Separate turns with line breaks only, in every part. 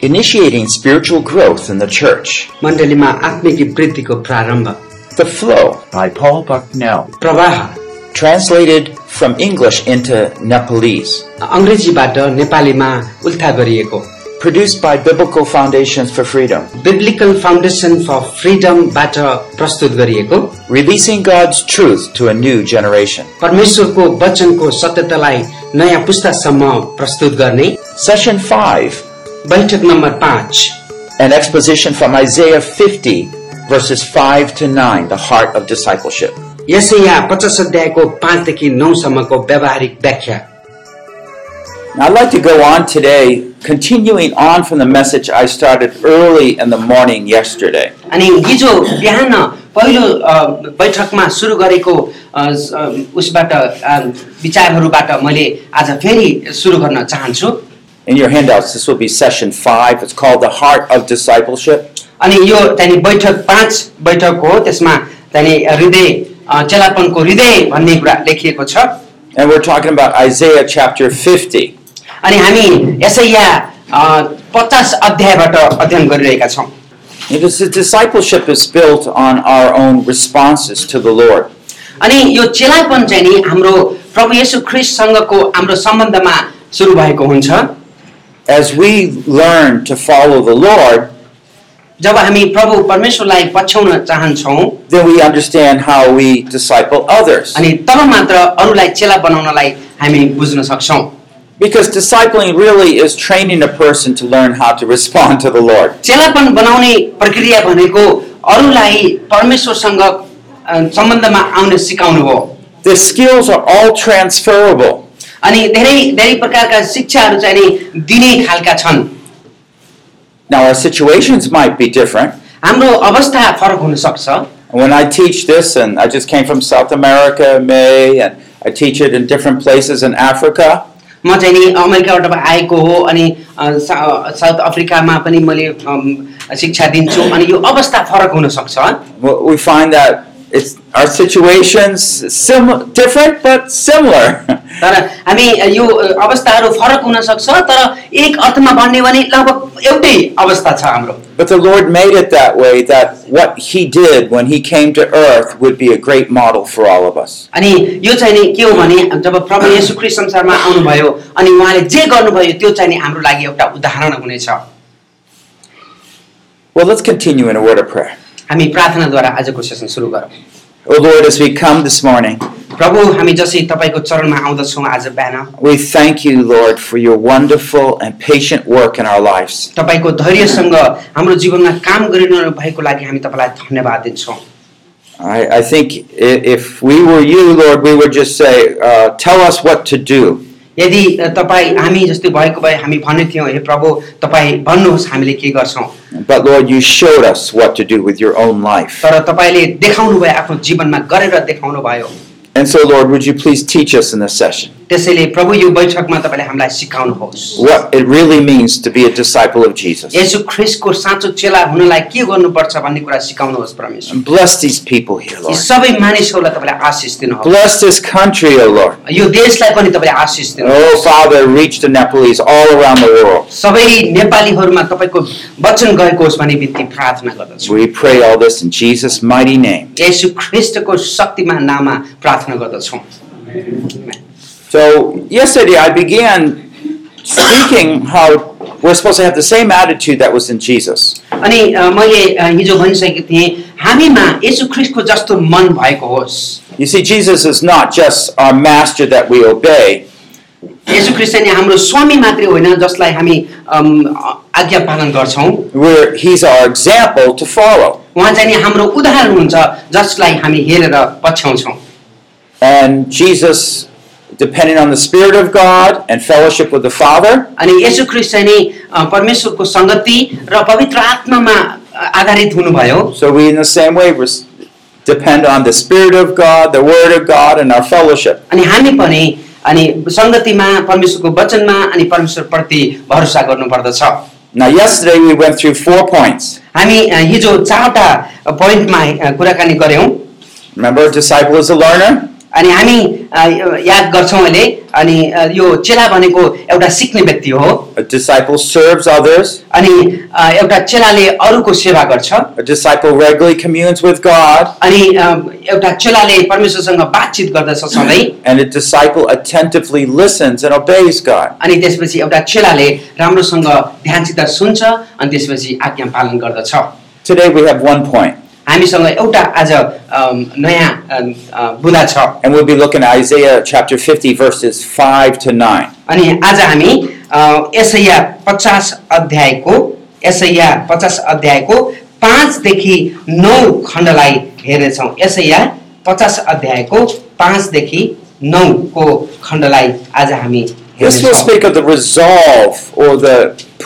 initiating spiritual growth in the church.
मण्डलीमा आत्मिक वृद्धिको प्रारम्भ
The Flow,
by Paul Bucknell.
प्रवाह
translated from English into Nepalese,
अङ्ग्रेजीबाट नेपालीमा उल्था गरिएको
produced by Biblical Foundations for Freedom,
Biblical Foundation for फ्रिडमबाट प्रस्तुत गरिएको
releasing God's truth to a new generation.
परमेश्वरको वचनको सत्यतालाई नयाँ पुस्तासम्म प्रस्तुत गर्ने
Session 5,
बैठक नम्बर पाँच
an exposition from Isaiah 50, verses 5 to 9, the heart of discipleship.
यसै यहाँ पचास अध्यायको पाँचदेखि नौसम्मको व्यावहारिक व्याख्या
Now, I'd like to go on today, continuing on from the message I started early in the morning yesterday.
अनि हिजो बिहान पहिलो अ, बैठकमा सुरु गरेको अ, स- अ, उसबाट अ, विचारहरूबाट मैले आज फेरि सुरु गर्न चाहन्छु
In your handouts, this will be session 5. It's called The Heart of Discipleship.
अनि यो त्यहाँनिर बैठक पाँच बैठक हो त्यसमा त्यहाँनिर हृदय अ, चेलापनको हृदय भन्ने कुरा लेखिएको छ
And we're talking about Isaiah chapter 50.
अनि हामी यसै यहाँ पचास अध्यायबाट अध्ययन गरिरहेका छौँ
It is the discipleship is built on our own responses to the Lord.
अनि यो चेलापन चाहिँ नि हाम्रो प्रभु येशू ख्रिस्टसँगको हाम्रो सम्बन्धमा सुरु भएको हुन्छ
As we learn to follow the Lord,
जब हामी प्रभु परमेश्वरलाई पछ्याउन चाहन्छौँ
then we understand how we disciple others.
अनि तब मात्र अरूलाई चेला बनाउनलाई हामी बुझ्न सक्छौँ
Because discipling really is training a person to learn how to respond to the Lord.
चेलापन बनाउने प्रक्रिया भनेको अरूलाई परमेश्वरसँग अ, सम्बन्धमा आउन सिकाउनु हो
The skills are all transferable.
अनि धेरै धेरै प्रकारका शिक्षाहरू चाहिँ नि दिने खालका छन्
Now, our situations might be different.
हाम्रो अवस्था फरक हुन सक्छ
When I teach this, and I just came from South America in May, and I teach it in different places in Africa,
म चाहिँ नि अमेरिकाबाट आएको हो अनि अ, सा- साउथ अफ्रिकामा पनि मैले अम, शिक्षा दिन्छु अनि यो अवस्था फरक हुन सक्छ
w- we find that it's our situations sim- different but similar.
तर हामी यो अ, अवस्थाहरू फरक हुन सक्छ तर एक अर्थमा भन्ने भने लगभग एउटै अवस्था छ हाम्रो
but the Lord made it that way that what He did when He came to earth would be a great model for all of us.
अनि यो चाहिँ नि के हो भने जब प्रभु येशू ख्रिस्ट संसारमा आउनुभयो अनि उहाँले जे गर्नुभयो त्यो चाहिँ नि हाम्रो लागि एउटा उदाहरण हुनेछ
Well, let's continue in a word of prayer.
हामी प्रार्थनाद्वारा आजको सेसन सुरु गरौँ
Oh Lord, as we come this morning,
प्रभु हामी जसरी तपाईँको चरणमा आउँदछौँ आज बिहान
we thank you, Lord, for your wonderful and patient work in our lives.
तपाईँको धैर्यसँग हाम्रो जीवनमा काम गरिरहनु भएको लागि हामी तपाईँलाई धन्यवाद दिन्छौँ
I, I think i- if we were you, Lord, we would just say, uh, Tell us what to do.
यदि तपाईँ हामी जस्तै भएको भए हामी भन्ने थियौँ हे प्रभु तपाईँ भन्नुहोस् हामीले के गर्छौँ
But Lord, you showed us what to do with your own life.
तर तपाईँले देखाउनु भयो आफ्नो जीवनमा गरेर देखाउनु भयो
And so, Lord, would you please teach us in this session
त्यसैले प्रभु यो बैठकमा तपाईँले हामीलाई सिकाउनुहोस्
what it really means to be a disciple of Jesus?
यसो ख्रिसको साँचो चेला हुनलाई के गर्नुपर्छ भन्ने कुरा सिकाउनुहोस् परमेश्वर
Bless these people here,
यी
Lord.
सबै मानिसहरूलाई तपाईँले आशिष दिनुहोस्
Bless this country, O Lord.
यो देशलाई पनि तपाईँले आशिष
Oh,
दिनुहोस्
Father, reach the Nepalese all around the world.
सबै नेपालीहरूमा तपाईँको वचन गएको होस् भन्ने बित्ति प्रार्थना गर्दछु
We pray all this in Jesus' mighty name.
येशू ख्रिस्टको शक्तिमा नाममा प्रार्थना गर्दछौँ
So yesterday I began speaking how we're supposed to have the same attitude that was in Jesus.
अनि अ, मैले अ, हिजो भनिसकेको थिएँ हामीमा येशू ख्रिस्टको जस्तो मन भएको होस्
You see, Jesus is not just our master that we obey,
येशू ख्रिस्ट नै हाम्रो स्वामी मात्रै होइन जसलाई हामी अम, अ- आज्ञा पालन गर्छौँ
we're, he's our example to follow.
उहाँ चाहिँ नि हाम्रो उदाहरण हुन्छ जसलाई हामी हेरेर पछ्याउँछौँ
And Jesus, depending on the Spirit of God and fellowship with the Father,
अनि येशू ख्रिस्ट चाहिँ नि अ, परमेश्वरको सङ्गति र पवित्र आत्मामा अ, आधारित हुनुभयो
so we in the same way res- depend on the Spirit of God, the Word of God, and our fellowship.
अनि हामी पनि अनि सङ्गतिमा परमेश्वरको वचनमा अनि परमेश्वरप्रति भरोसा गर्नुपर्दछ
Now, yesterday we went through four points.
हामी अ, हिजो चारवटा पोइन्टमा अ, कुराकानी गऱ्यौँ
Remember, a disciple is a learner.
अनि हामी अ, यो- याद गर्छौँ अहिले अनि अ, यो चेला भनेको एउटा सिक्ने व्यक्ति हो
A disciple serves others.
अनि अ, एउटा चेलाले अरूको सेवा गर्छ
A disciple regularly communes with God.
अनि अ, एउटा चेलाले परमेश्वरसँग बातचित गर्दछ सधैँ
And a disciple attentively listens and obeys God.
अनि त्यसपछि एउटा चेलाले राम्रोसँग ध्यानसित सुन्छ अनि त्यसपछि आज्ञा पालन गर्दछ
Today we have one point,
हामीसँग एउटा आज अम, नयाँ अम, अ, बुँदा छ
and we'll be looking at Isaiah chapter 50, verses 5 to 9.
अनि आज हामी अ, यसैया पचास अध्यायको यसैया पचास अध्यायको पाँचदेखि नौ खण्डलाई हेर्नेछौँ यसैया पचास अध्यायको पाँचदेखि नौको खण्डलाई आज हामी
This will
हेर्नेछौँ
speak of the resolve or the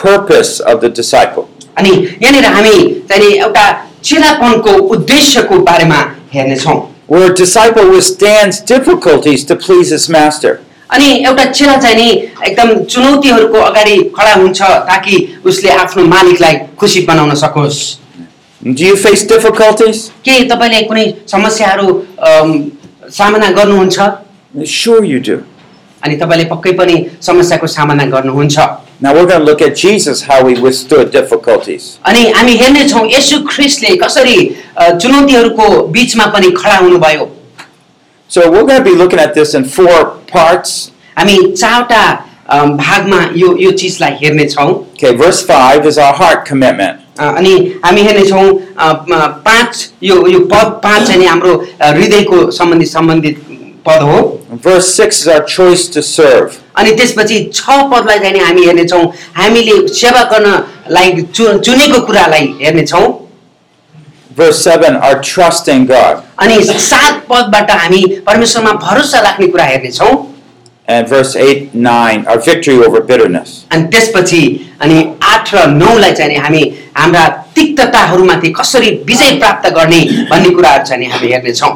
purpose of the disciple.
अनि यहाँनिर हामी चाहिँ एउटा चेलापनको उद्देश्यको बारेमा हेर्नेछौँ
Where a disciple withstands difficulties to please his master.
अनि एउटा चेला चाहिँ नि एकदम चुनौतीहरूको अगाडि खडा हुन्छ ताकि उसले आफ्नो मालिकलाई खुसी बनाउन सकोस्
Do you face difficulties?
के तपाईँले कुनै समस्याहरू अम, सामना गर्नुहुन्छ
Sure, you do.
अनि तपाईँले पक्कै पनि समस्याको सामना गर्नुहुन्छ
Now we're going to look at Jesus, how he withstood difficulties.
अनि हामी हेर्नेछौँ यसु ख्रिस्टले कसरी अ, चुनौतीहरूको बिचमा पनि खडा हुनुभयो
So we're going to be looking at this in four parts.
हामी चारवटा अम, भागमा यो यो चिजलाई हेर्नेछौँ
Okay, verse 5 is our heart commitment.
अ, अनि हामी हेर्नेछौँ अ, म- पाँच यो यो पद पाँच चाहिँ नि हाम्रो अ, हृदयको सम्बन्धी सम्बन्धित पद हो
Verse 6 is our choice to serve.
अनि त्यसपछि छ पदलाई चाहिँ नि हामी हेर्नेछौँ हामीले सेवा गर्नलाई चु चुनेको कुरालाई हेर्नेछौँ
Verse 7, our trust in God.
अनि सात पदबाट हामी परमेश्वरमा भरोसा राख्ने कुरा हेर्नेछौँ
And verse 8, 9, our victory over bitterness.
अनि त्यसपछि अनि आठ र नौलाई चाहिँ नि हामी हाम्रा तिक्तताहरूमाथि कसरी विजय प्राप्त गर्ने भन्ने कुराहरू चाहिँ नि हामी हेर्नेछौँ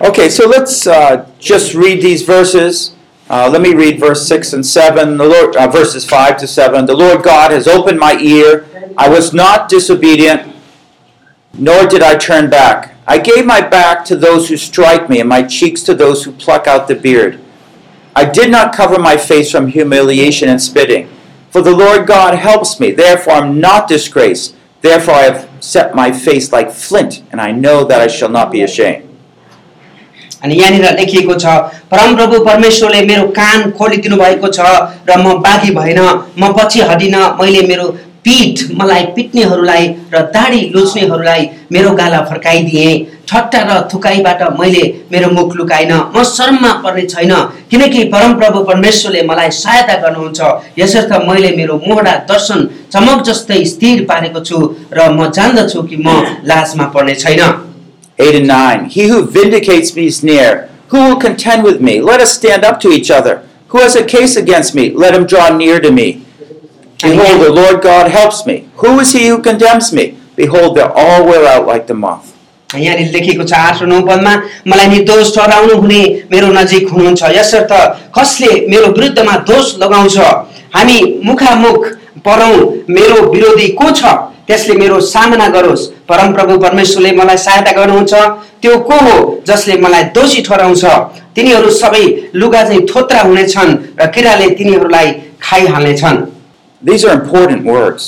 Okay, so let's uh, just read these verses. Uh, let me read verse 6 and 7, the Lord, uh, verses 5 to 7. The Lord God has opened my ear. I was not disobedient, nor did I turn back. I gave my back to those who strike me, and my cheeks to those who pluck out the beard. I did not cover my face from humiliation and spitting. For the Lord God helps me, therefore I'm not disgraced. Therefore I have set my face like flint, and I know that I shall not be ashamed.
अनि यहाँनिर लेखिएको छ परमप्रभु परमेश्वरले मेरो कान खोलिदिनु भएको छ र म बाघी भएन म पछि हटिनँ मैले मेरो पिठ मलाई पिट्नेहरूलाई र दाढी लुच्नेहरूलाई मेरो गाला फर्काइदिएँ ठट्टा र थुकाइबाट मैले मेरो मुख लुकाइन म शर्ममा पर्ने छैन किनकि परमप्रभु परमेश्वरले मलाई सहायता गर्नुहुन्छ यसर्थ मैले मेरो मोहडा दर्शन चमक जस्तै स्थिर पारेको छु र म जान्दछु कि म लाजमा पर्ने छैन
8 and 9. He who vindicates me is near. Who will contend with me? Let us stand up to each other. Who has a case against me? Let him draw near to me. Behold, the Lord God helps me. Who is he who condemns me? Behold, they're all wear out like the moth.
यहाँनिर लेखिएको छ आठ र नौ पदमा मलाई निर्दोष ठहराउनु हुने मेरो नजिक हुनुहुन्छ यसर्थ कसले मेरो विरुद्धमा दोष लगाउँछ हामी मुखामुख परौँ मेरो विरोधी को छ त्यसले मेरो सामना गरोस् परमप्रभु परमेश्वरले मलाई सहायता गर्नुहुन्छ त्यो को हो जसले मलाई दोषी ठहराउँछ तिनीहरू सबै लुगा चाहिँ थोत्रा हुनेछन् र किराले तिनीहरूलाई खाइहाल्नेछन्
These are important words.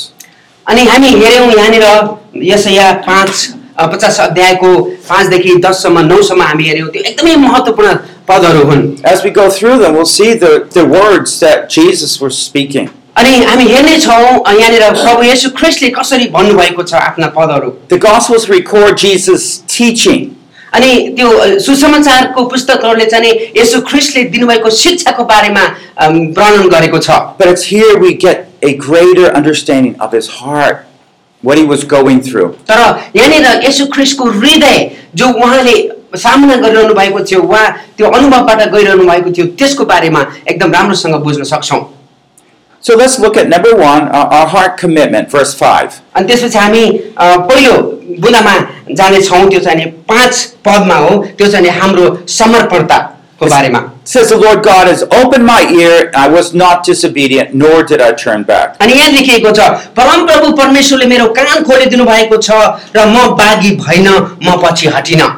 अनि हामी हेऱ्यौँ यहाँनिर यसैया पाँच अ, पचास अध्यायको पाँचदेखि दससम्म नौसम्म हामी हेऱ्यौँ त्यो एकदमै महत्त्वपूर्ण पदहरू हुन्
As we go through them, we'll see the, the words that Jesus was speaking.
अनि हामी हेर्नेछौँ अ, यहाँनिर प्रभु येशू ख्रिस्टले कसरी भन्नुभएको छ आफ्ना पदहरू
The Gospels record Jesus' teaching.
अनि त्यो अ, सुसमाचारको पुस्तकहरूले चाहिँ नि येशू ख्रिस्टले दिनुभएको शिक्षाको बारेमा अम, वर्णन गरेको छ
But it's here we get a greater understanding of his heart, what he was going through.
तर यहाँनिर येशू ख्रिस्टको हृदय जो उहाँले सामना गरिरहनु भएको थियो उहाँ त्यो अनुभवबाट गइरहनु भएको थियो त्यसको बारेमा एकदम राम्रोसँग बुझ्न सक्छौँ
So let's look at number one, our our heart commitment, verse 5.
अनि त्यसपछि हामी अ, पहिलो बुदामा जानेछौँ त्यो चाहिँ नि पाँच पदमा हो त्यो चाहिँ नि हाम्रो समर्पणताको बारेमा
It says, The Lord God has opened my ear, I was not disobedient, nor did I turn back.
अनि यहाँ लेखिएको छ परमप्रभु परमेश्वरले मेरो कान खोलिदिनु भएको छ र म बाघी भएन म पछि हटिनँ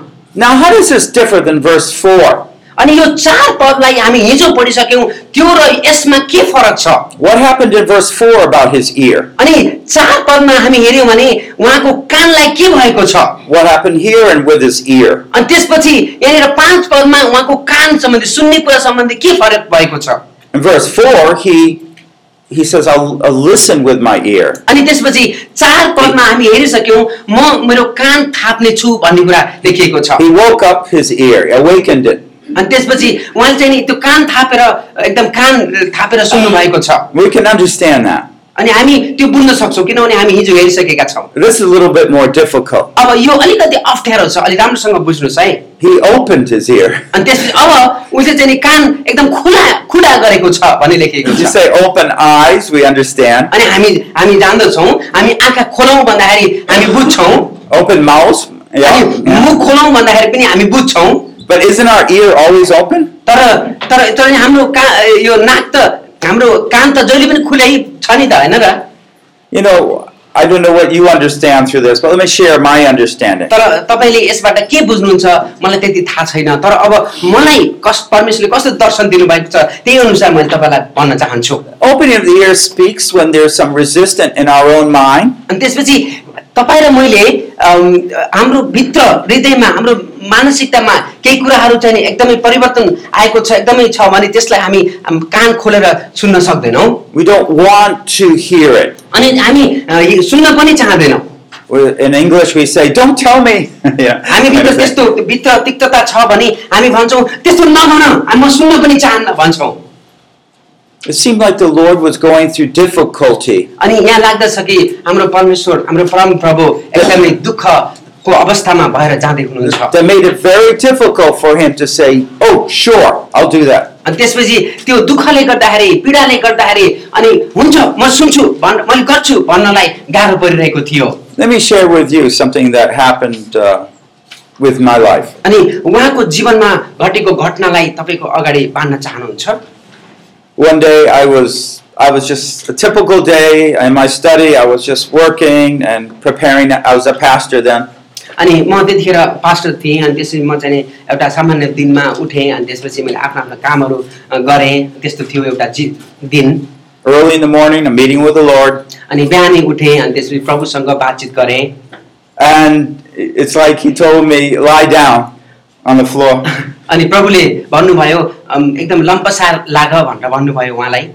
Now, how does this differ than verse 4?
अनि यो चार पदलाई हामी हिजो पढिसक्यौँ त्यो र यसमा के फरक छ
What happened in verse 4 about his ear?
अनि चार पदमा हामी हेऱ्यौँ भने उहाँको कानलाई के भएको छ
What happened here and with his ear?
अनि त्यसपछि यहाँनिर पाँच पदमा उहाँको कान सम्बन्धी सुन्ने कुरा सम्बन्धी के फरक भएको छ
In verse 4, he he says, I'll, I'll listen with my ear.
अनि त्यसपछि चार पदमा हामी हेरिसक्यौँ म मेरो कान थाप्ने छु भन्ने कुरा लेखिएको छ
He woke up his ear, awakened it.
अनि त्यसपछि उहाँले चाहिँ नि त्यो कान थापेर एकदम कान थापेर सुन्नु भएको छ
We can understand that.
अनि हामी त्यो बुझ्न सक्छौँ किनभने हामी हिजो हेरिसकेका छौँ
This is a little bit more difficult.
अब यो अलिकति अप्ठ्यारो छ अलिक राम्रोसँग बुझ्नुहोस् है
He opened his ear.
अनि त्यसपछि अब उसले चाहिँ नि कान एकदम खुला खुला गरेको छ भन्ने लेखिएको
You
छ
say open eyes, we understand.
अनि हामी हामी जान्दछौँ हामी आँखा खोलौँ भन्दाखेरि हामी बुझ्छौँ
Open mouth,
अनि
yeah. yeah.
मुख खोलौँ भन्दाखेरि पनि हामी बुझ्छौँ
But isn't our ear always open?
तर तर तर नि हाम्रो का यो नाक त हाम्रो कान त जहिले पनि खुलै छ नि त होइन र
You know, I don't know what you understand through this, but let me share my understanding.
तर तपाईँले यसबाट के बुझ्नुहुन्छ मलाई त्यति थाहा छैन तर अब मलाई कस परमेश्वरले कस्तो दर्शन दिनुभएको छ त्यही अनुसार मैले तपाईँलाई भन्न चाहन्छु
Opening of the ear speaks when there's some resistance in our own mind.
अनि त्यसपछि तपाईँ र मैले अम, हाम्रो भित्र हृदयमा हाम्रो मानसिकतामा केही कुराहरू चाहिँ नि एकदमै परिवर्तन आएको छ एकदमै छ भने त्यसलाई हामी अम, कान खोलेर सुन्न सक्दैनौँ
We don't want to hear it.
अनि हामी अ, यो सुन्न पनि चाहँदैनौँ
We- In English, we say, "Don't tell me." yeah.
हामी भित्र त्यस्तो भित्र तिक्तता छ भने हामी भन्छौँ त्यस्तो नभन हामी- म सुन्न पनि चाहन्न भन्छौँ
It seemed like the Lord was going through difficulty.
अनि यहाँ लाग्दछ कि हाम्रो परमेश्वर हाम्रो परम प्रभु एकदमै दुःखको अवस्थामा भएर जाँदै हुनुहुन्छ
That made it very difficult for him to say, "Oh, sure, I'll do that."
अनि त्यसपछि त्यो दुःखले गर्दाखेरि पीडाले गर्दाखेरि अनि हुन्छ म सुन्छु भन् मैले गर्छु भन्नलाई गाह्रो परिरहेको थियो
Let me share with you something that happened uh, with my life.
अनि उहाँको जीवनमा घटेको घटनालाई तपाईँको अगाडि बाँड्न चाहनुहुन्छ
One day I was I was just a typical day in my study. I was just working and preparing. I was a pastor then,
अनि म त्यतिखेर पास्टर थिएँ अनि त्यसपछि म चाहिँ नि एउटा सामान्य दिनमा उठेँ अनि त्यसपछि मैले आफ्नो आफ्नो कामहरू अ, गरेँ त्यस्तो थियो एउटा जी दिन
early in the morning, a meeting with the Lord,
अनि बिहानै उठेँ अनि त्यसपछि प्रभुसँग बातचित गरेँ
and it's like He told me, "Lie down on the floor."
अनि प्रभुले भन्नुभयो अम, एकदम लम्पसार लाग भनेर भन्नुभयो उहाँलाई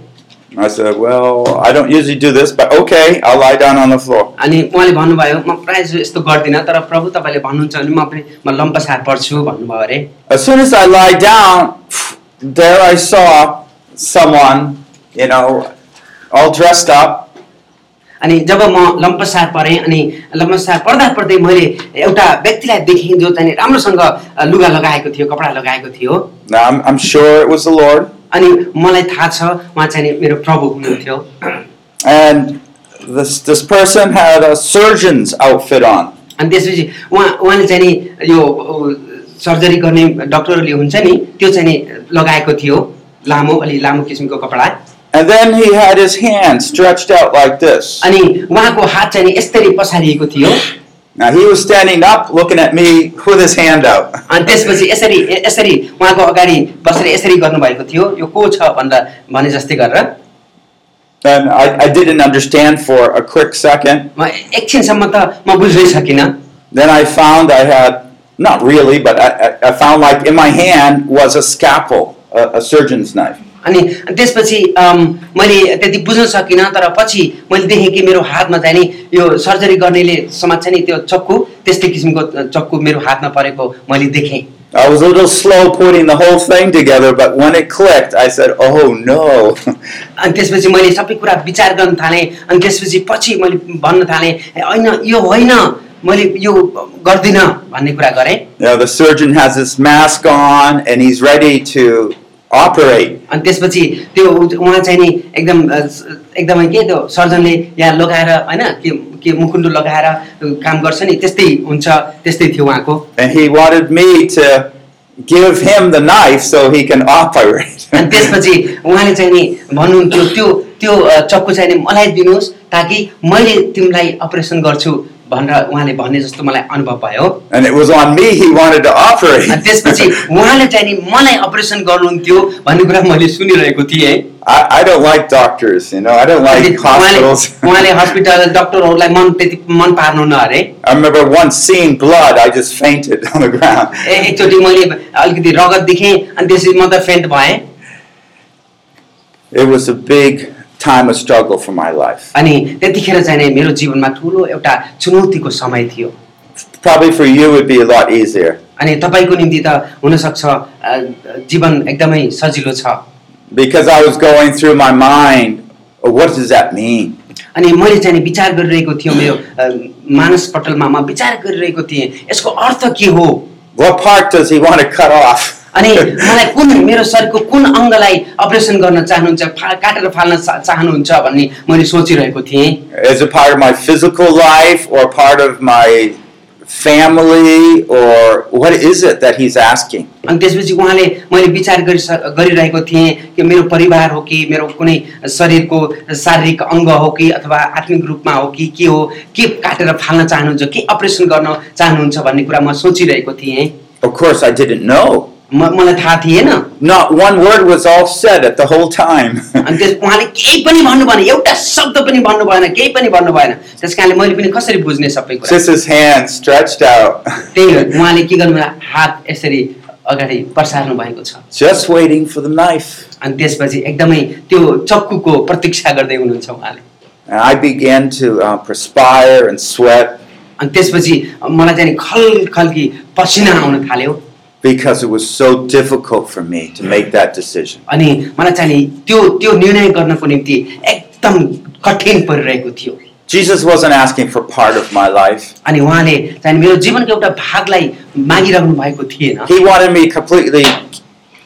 I said, "Well, I don't usually do this, but okay, I'll lie down on the floor."
अनि उहाँले भन्नुभयो म प्रायः जसो यस्तो गर्दिनँ तर प्रभु तपाईँले भन्नुहुन्छ भने म पनि म लम्पसार पर्छु भन्नुभयो अरे
As soon as I lie down, there I saw someone, you know, all dressed up,
अनि जब म लम्पसार परेँ अनि लम्पसार पर्दा पर्दै मैले एउटा व्यक्तिलाई देखेँ जो चाहिँ राम्रोसँग अ, लुगा लगाएको थियो कपडा लगाएको थियो
Now, I'm, I'm sure it was the Lord.
अनि मलाई थाहा छ उहाँ चाहिँ नि मेरो प्रभु हुनुहुन्थ्यो
And this, this person had a surgeon's outfit on.
अनि त्यसपछि उहाँ उहाँले चाहिँ नि यो अ, सर्जरी गर्ने डक्टरहरूले हुन्छ नि त्यो चाहिँ नि लगाएको थियो लामो अलि लामो किसिमको कपडा
And then he had his hand stretched out like this.
अनि उहाँको हात चाहिँ नि यसरी पसारिएको थियो
Now, he was standing up looking at me with his hand out.
अनि त्यसपछि यसरी ए- यसरी उहाँको अगाडि बसेर यसरी गर्नुभएको थियो यो को छ भनेर भने जस्तै गरेर
And I, I didn't understand for a quick second.
म एकछिनसम्म त म बुझ्नै सकिनँ
Then I found I had, not really, but I, I- I found like in my hand was a scalpel, a, a surgeon's knife.
अनि त्यसपछि अम, मैले त्यति बुझ्न सकिनँ तर पछि मैले देखेँ कि मेरो हातमा चाहिँ नि यो सर्जरी गर्नेले समात्छ नि त्यो चक्कु त्यस्तै किसिमको चक्कु मेरो हातमा परेको मैले देखेँ
I was a little slow putting the whole thing together, but when it clicked, I said, oh no.
अनि त्यसपछि मैले सबै कुरा विचार गर्न थालेँ अनि त्यसपछि पछि मैले भन्न थालेँ "ए, होइन यो होइन मैले यो गर्दिनँ भन्ने कुरा गरेँ
You know, the surgeon has his mask on and he's ready to operate.
अनि त्यसपछि त्यो उ- उहाँ चाहिँ नि एकदम अ, स- एकदमै के त्यो सर्जनले यहाँ लगाएर होइन के के मुखुन्डो लगाएर अ, काम गर्छ नि त्यस्तै हुन्छ त्यस्तै थियो उहाँको
And he wanted me to give him the knife so he can operate.
अनि त्यसपछि उहाँले चाहिँ नि भन्नुहुन्थ्यो त्यो त्यो अ, चक्कु चाहिँ नि मलाई दिनुहोस् ताकि मैले तिमीलाई अपरेसन गर्छु भनेर उहाँले भने जस्तो मलाई अनुभव भयो
And it was on me he wanted to operate.
अनि त्यसपछि उहाँले चाहिँ नि मलाई अपरेसन गर्नुहुन्थ्यो भन्ने कुरा मैले सुनिरहेको थिएँ
I, I don't like doctors, you know, I don't like
अनि उहाँले
hospitals.
उहाँले हस्पिटल डक्टरहरूलाई मन त्यति मन पार्नुहुन्न अरे
I remember once seeing blood, I just fainted on the ground.
ए एकचोटि मैले अलिकति रगत देखेँ अनि त्यसपछि म त फेन्ट भएँ
It was a big time of struggle for my life.
अनि त्यतिखेर चाहिँ नि मेरो जीवनमा ठुलो एउटा चुनौतीको समय थियो
Probably for you, it would be a lot easier
अनि तपाईँको निम्ति त हुनसक्छ अ, जीवन एकदमै सजिलो छ
because I was going through my mind what does that mean?
अनि मैले चाहिँ नि विचार गरिरहेको थिएँ मेरो अ, मानसपटलमा म विचार गरिरहेको थिएँ यसको अर्थ के हो
What part does he want to cut off?
अनि मलाई कुन मेरो शरीरको कुन अङ्गलाई अपरेसन गर्न चाहनुहुन्छ फा काटेर फाल्न चा- चाहनुहुन्छ भन्ने मैले सोचिरहेको थिएँ
Is it part of my physical life or part of my family or what is it that he's asking?
अनि त्यसपछि उहाँले मैले विचार गरिस गरिरहेको थिएँ कि मेरो परिवार हो कि मेरो कुनै शरीरको शारीरिक अङ्ग हो कि अथवा आत्मिक रूपमा हो कि के हो के काटेर फाल्न चाहनुहुन्छ के अपरेसन गर्न चाहनुहुन्छ भन्ने कुरा म सोचिरहेको थिएँ
Of course, I didn't know.
म मलाई थाहा थिएन
Not one word was all said at the whole time.
अनि त्यस उहाँले केही पनि भन्नु भएन एउटा शब्द पनि भन्नु भएन केही पनि भन्नु भएन त्यस कारणले मैले पनि कसरी बुझ्ने सबै कुरा
Just his hand stretched out,
त्यही हो उहाँले के गर्नु भयो? हात यसरी अगाडि पर्सार्नु भएको छ
just waiting for the knife.
अनि त्यसपछि एकदमै त्यो चक्कुको प्रतीक्षा गर्दै हुनुहुन्छ उहाँले
And I began to uh, perspire and sweat
अनि त्यसपछि मलाई चाहिँ नि खल खल्की पसिना आउन थाल्यो
because it was so difficult for me to make that decision.
अनि मलाई चाहिँ नि त्यो त्यो निर्णय गर्नको निम्ति एकदम कठिन परिरहेको थियो
Jesus wasn't asking for part of my life,
अनि उहाँले चाहिँ नि मेरो जीवनको एउटा भागलाई मागिरहनु भएको थिएन
He wanted me completely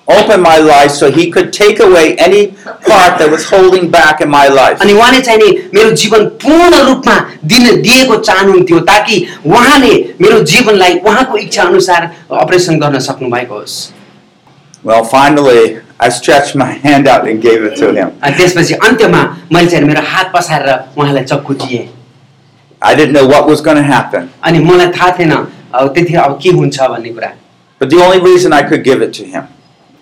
open my life so He could take away any part that was holding back in my life.
अनि उहाँले चाहिँ नि मेरो जीवन पूर्ण रूपमा दिन दिएको चाहनुहुन्थ्यो ताकि उहाँले मेरो जीवनलाई उहाँको इच्छा अनुसार अपरेसन गर्न सक्नु भएको होस्
Well, finally, I stretched my hand out and gave it to Him.
अनि त्यसपछि अन्त्यमा मैले चाहिँ मेरो हात पसारेर उहाँलाई चक्कु दिएँ
I didn't know what was going to happen,
अनि मलाई थाहा थिएन अब त्यतिखेर अब के हुन्छ भन्ने कुरा
but the only reason I could give it to Him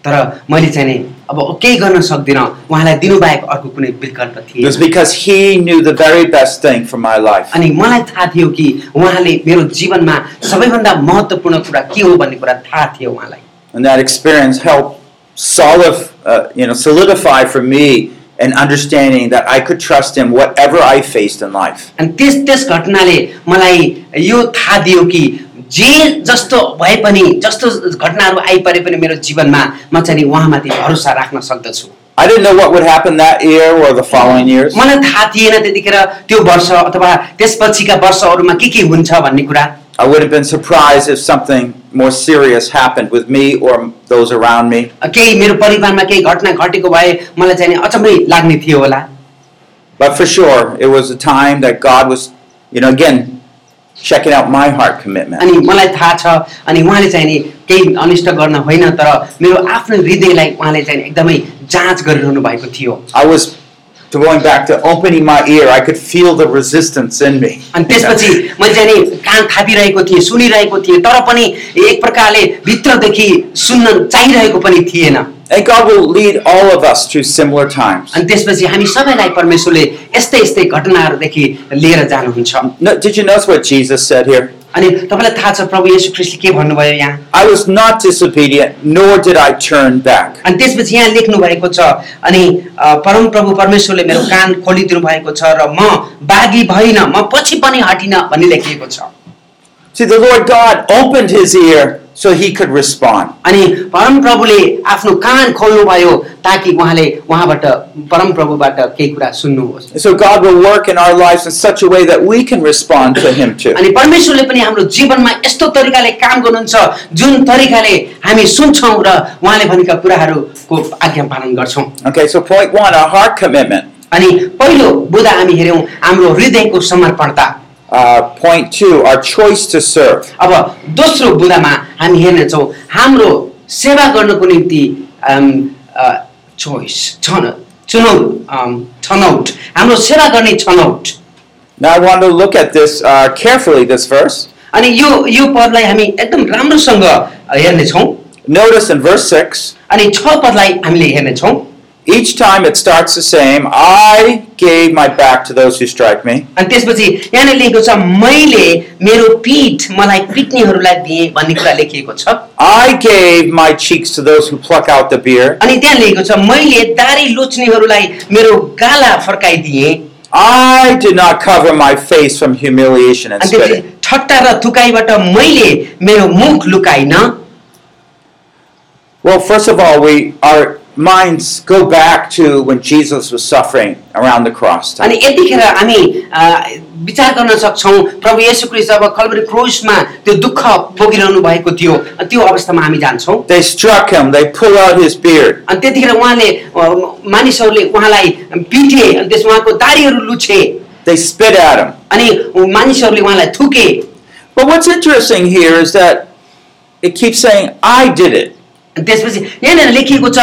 तर मैले चाहिँ नि अब केही गर्न सक्दिनँ उहाँलाई दिनुबाहेक अर्को कुनै विकल्प थिएन
was because He knew the very best thing for my life.
अनि मलाई थाहा थियो कि उहाँले मेरो जीवनमा सबैभन्दा महत्त्वपूर्ण कुरा के हो भन्ने कुरा थाहा थियो उहाँलाई
And that experience helped solid, uh, you know, solidify for me an understanding that I could trust him whatever I faced in life.
अनि त्यस त्यस घटनाले मलाई यो थाहा दियो कि जे जस्तो भए पनि जस्तो घटनाहरू आइपरे पनि मेरो जीवनमा म चाहिँ नि उहाँमाथि भरोसा राख्न सक्दछु
I didn't know what would happen that year or the following years.
मलाई थाहा थिएन त्यतिखेर त्यो वर्ष अथवा त्यसपछिका वर्षहरूमा के के हुन्छ भन्ने कुरा
I would have been surprised if something more serious happened with me or those around me.
केही मेरो परिवारमा केही घटना घटेको भए मलाई चाहिँ नि अचम्मै लाग्ने थियो होला
But for sure, it was a time that God was, you know, again, checking out my heart commitment.
अनि मलाई थाहा छ अनि उहाँले चाहिँ नि केही अनिष्ट गर्न होइन तर मेरो आफ्नो हृदयलाई उहाँले चाहिँ नि एकदमै जाँच गरिरहनु भएको थियो
I was going back to opening my ear. I could feel the resistance in me.
अनि त्यसपछि मैले चाहिँ नि कान थापिरहेको थिएँ सुनिरहेको थिएँ तर पनि एक प्रकारले भित्रदेखि सुन्न चाहिरहेको पनि थिएन
And God will lead all of us through similar times.
अनि त्यसपछि हामी सबैलाई परमेश्वरले यस्तै यस्तै घटनाहरूदेखि लिएर जानुहुन्छ
No, did you notice what Jesus said here?
अनि तपाईँलाई थाहा छ प्रभु येशू ख्रिस्टले के भन्नुभयो यहाँ
I was not disobedient, nor did I turn back.
अनि त्यसपछि यहाँ लेख्नु भएको छ अनि अ, परम प्रभु परमेश्वरले मेरो कान खोलिदिनु भएको छ र म बाघी भइन म पछि पनि हटिनँ भन्ने लेखिएको छ
See, the Lord God opened his ear so he could respond.
अनि परम प्रभुले आफ्नो कान खोल्नुभयो ताकि उहाँले उहाँबाट परम प्रभुबाट केही कुरा सुन्नुहोस्
And so God will work in our lives in such a way that we can respond to him too.
अनि परमेश्वरले पनि हाम्रो जीवनमा यस्तो तरिकाले काम गर्नुहुन्छ जुन तरिकाले हामी सुन्छौँ र उहाँले भनेका कुराहरूको आज्ञा पालन गर्छौँ
Okay, so point one, our heart commitment.
अनि पहिलो बुधा हामी हेऱ्यौँ हाम्रो हृदयको समर्पणता
Uh, point two, our choice to serve.
अब दोस्रो बुदामा हामी हेर्नेछौँ हाम्रो सेवा गर्नको निम्ति चोइस छन चुनौत अम, छनौट हाम्रो सेवा गर्ने छनौट
Now I want to look at this uh, carefully, this verse.
अनि यो यो पदलाई हामी एकदम राम्रोसँग हेर्नेछौँ
Notice in verse 6,
अनि छ पदलाई हामीले हेर्नेछौँ
each time it starts the same I gave my back to those who strike me.
अनि त्यसपछि यहाँनिर लेखेको छ मैले मेरो पिठ मलाई पिट्नेहरूलाई दिएँ भन्ने कुरा लेखिएको छ
I gave my cheeks to those who pluck out the beard.
अनि त्यहाँ लेखेको छ मैले दारी लोच्नेहरूलाई मेरो गाला फर्काइदिएँ
I did not cover my face from humiliation and
अनि त्यसपछि
spitting.
ठट्टा र थुकाइबाट मैले मेरो मुख लुकाइन
Well, first of all, we our minds go back to when Jesus was suffering around the cross.
अनि यतिखेर हामी अ, विचार गर्न सक्छौँ प्रभु येशू क्रिस्ट जब कलवरी क्रोसमा त्यो दुःख भोगिरहनु भएको थियो अनि त्यो अवस्थामा हामी जान्छौँ
They struck him. They pulled out his beard.
अनि त्यतिखेर उहाँले अ, मानिसहरूले उहाँलाई पिटे अनि त्यस उहाँको दारीहरू लुछे
They spit at him.
अनि मानिसहरूले उहाँलाई थुके
But what's interesting here is that it keeps saying, "I did it.
अनि त्यसपछि यहाँनिर लेखिएको छ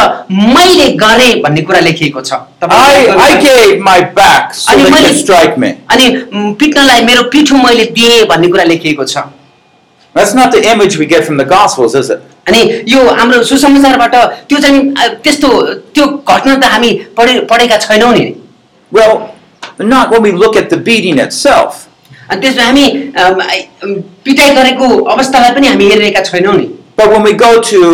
मैले गरेँ भन्ने कुरा लेखिएको छ
I
तपाईँले
I gave my back so
And
they
when
could
it-
strike me."
अनि म, पिट्नलाई मेरो पिठो मैले दिएँ भन्ने कुरा लेखिएको छ
That's not the image we get from the Gospels, is it?
अनि यो हाम्रो सुसमाचारबाट त्यो चाहिँ अ, त्यस्तो त्यो घटना त हामी पढे पढेका छैनौँ नि
Well, not when we look at the beating itself.
अनि त्यसमा हामी अम, आइ- अम, पिटाइ गरेको अवस्थालाई पनि हामी हेरिरहेका छैनौँ नि
But when we go to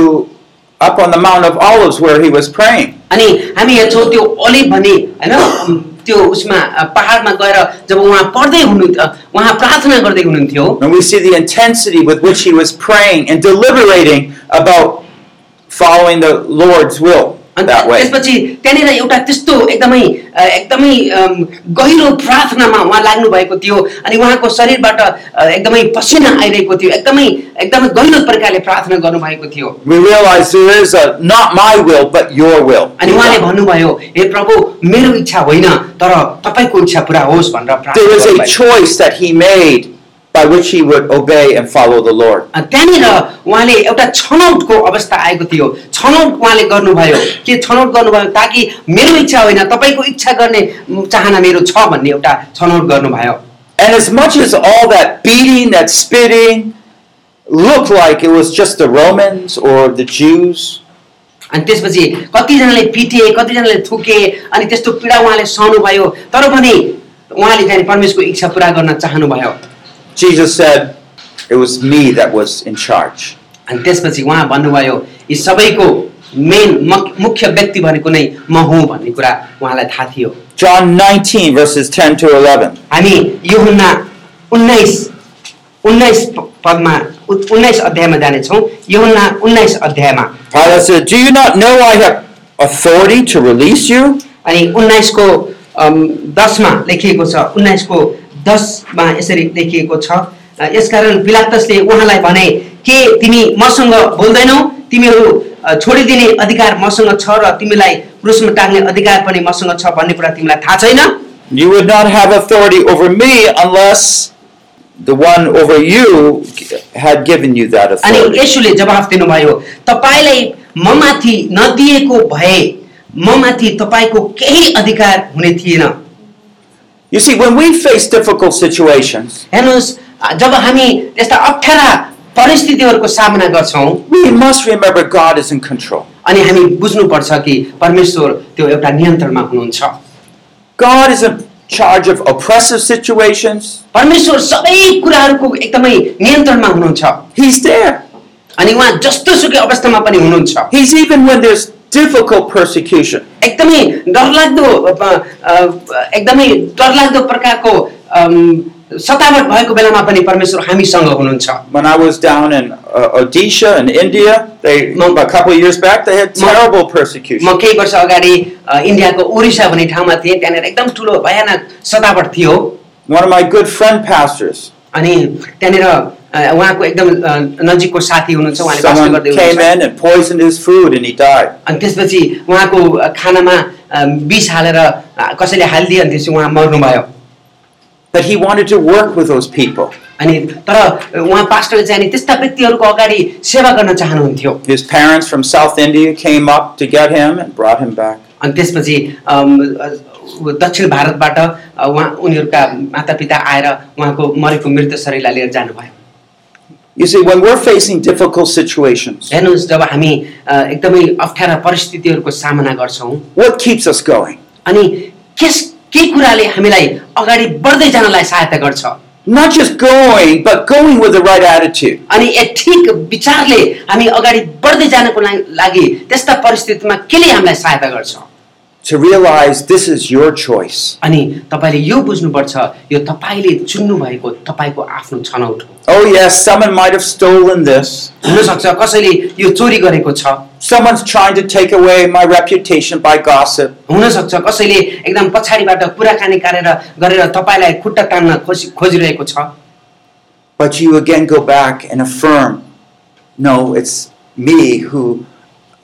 up on the Mount of Olives where he was praying,
अनि हामी हेर्छौँ त्यो अलिभ भन्ने होइन अम, त्यो उसमा अ, पहाडमा गएर जब उहाँ पढ्दै हुनु अ, उहाँ प्रार्थना गर्दै हुनुहुन्थ्यो
and we see the intensity with which he was praying and deliberating about following the Lord's will
अनि
that way.
त्यसपछि त्यहाँनिर एउटा त्यस्तो एकदमै अ, एकदमै अम, गहिरो प्रार्थनामा उहाँ लाग्नु भएको थियो अनि उहाँको शरीरबाट अ, एकदमै पसिना आइरहेको थियो एकदमै एकदमै गहिरो प्रकारले प्रार्थना गर्नुभएको थियो
We realize there is a not my will, but your will.
अनि उहाँले भन्नुभयो हे प्रभु मेरो इच्छा होइन तर तपाईँको इच्छा पुरा होस् भनेर
There
प्रार्थना
was a
गर्नुभयो।
choice that he made by which he would obey and follow the Lord.
अ, त्यहाँनिर उहाँले एउटा छनौटको अवस्था आएको थियो छनौट उहाँले गर्नुभयो के छनौट गर्नुभयो ताकि मेरो इच्छा होइन तपाईँको इच्छा गर्ने म, चाहना मेरो छ भन्ने एउटा छनौट गर्नुभयो
And as much as all that beating, that spitting, looked like it was just the Romans or the Jews,
अनि त्यसपछि कतिजनाले पिटे कतिजनाले थुके अनि त्यस्तो पीडा उहाँले सहनुभयो तर पनि उहाँले चाहिँ परमेश्वरको इच्छा पुरा गर्न चाहनुभयो
Jesus said, It was me that was in charge.
अनि त्यसपछि उहाँ भन्नुभयो यी सबैको मेन मुख्य व्यक्ति भनेको नै म हुँ भन्ने कुरा उहाँलाई थाहा थियो
John 19, verses 10 to 11.
हामी यो हुन्ना उन्नाइस उन्नाइस पदमा उ- उन्नाइस अध्यायमा जानेछौँ यो हुन्ना उन्नाइस अध्यायमा
Pilate said, Do you not know I have authority to release you
अनि उन्नाइसको अम, दसमा लेखिएको छ उन्नाइसको दसमा यसरी लेखिएको छ अ, यसकारण पिलातसले उहाँलाई भने के तिमी मसँग बोल्दैनौ तिमीहरू अ, छोडिदिने अधिकार मसँग छ र तिमीलाई क्रुसमा टाग्ने अधिकार पनि मसँग छ भन्ने कुरा तिमीलाई थाहा छैन
You would not have authority over me unless the one over you had given you that
अनि
authority.
यसुले जवाफ दिनुभयो तपाईँलाई म माथि नदिएको भए म माथि तपाईँको केही अधिकार हुने थिएन
You see, when we face difficult situations,
हेर्नुहोस् अ, जब हामी यस्ता अप्ठ्यारा परिस्थितिहरूको सामना गर्छौँ
we must remember God is in control.
अनि हामी बुझ्नुपर्छ कि परमेश्वर त्यो एउटा नियन्त्रणमा हुनुहुन्छ
God is in charge of oppressive situations.
परमेश्वर सबै कुराहरूको एकदमै नियन्त्रणमा हुनुहुन्छ
He's there.
अनि उहाँ जस्तो सुकै अवस्थामा पनि हुनुहुन्छ
He's even when there's difficult persecution.
एकदमै डरलाग्दो अ, अ, एकदमै डरलाग्दो प्रकारको अम, सतावट भएको बेलामा पनि परमेश्वर हामीसँग हुनुहुन्छ
When I was down in uh, Odisha in India, they
Mm.
a couple of years back they had
Mm.
terrible persecution.
म केही वर्ष अगाडि अ, इन्डियाको ओडिसा भन्ने ठाउँमा थिएँ त्यहाँनिर एकदम ठुलो भयानक सतावट थियो
One of my good friend pastors,
अनि त्यहाँनिर अ, उहाँको एकदम अ, नजिकको साथी हुनुहुन्छ उहाँले वास
someone
गर्दै
came
हुनुहुन्छ
in and poisoned his food and he died.
अनि त्यसपछि उहाँको अ, खानामा अ, विष हालेर अ, कसैले हालिदिए अनि त्यसपछि उहाँ मर्नुभयो
But he wanted to work with those people.
अनि तर अ, उहाँ पास्टरले चाहिँ नि त्यस्ता व्यक्तिहरूको अगाडि सेवा गर्न चाहनुहुन्थ्यो
His parents from South India came up to get him and brought him back.
अनि त्यसपछि अम, अ, दक्षिण भारतबाट अ, उहाँ उनीहरूका मातापिता आएर उहाँको मरेको मृत शरीरलाई लिएर जानुभयो
You see, when we're facing difficult situations,
हेर्नुहोस् जब हामी अ, एकदमै अप्ठ्यारा परिस्थितिहरूको सामना गर्छौँ
what keeps us going?
अनि केस के कुराले हामीलाई अगाडि बढ्दै जानलाई सहायता गर्छ
Not just going, but going with the right attitude.
अनि ए ठिक विचारले हामी अगाडि बढ्दै जानको ला- लागि त्यस्ता परिस्थितिमा केले हामीलाई सहायता गर्छ
To realize this is your choice.
अनि तपाईँले यो बुझ्नुपर्छ यो तपाईँले चुन्नुभएको तपाईँको आफ्नो छनौट हो
Oh, yes, someone might have stolen this.
हुनसक्छ कसैले यो चोरी गरेको छ
Someone's trying to take away my reputation by gossip.
हुनसक्छ कसैले एकदम पछाडिबाट कुराकानी गरेर गरेर तपाईँलाई खुट्टा तान्न खोजी खोजिरहेको छ
But you again go back and affirm no, it's me who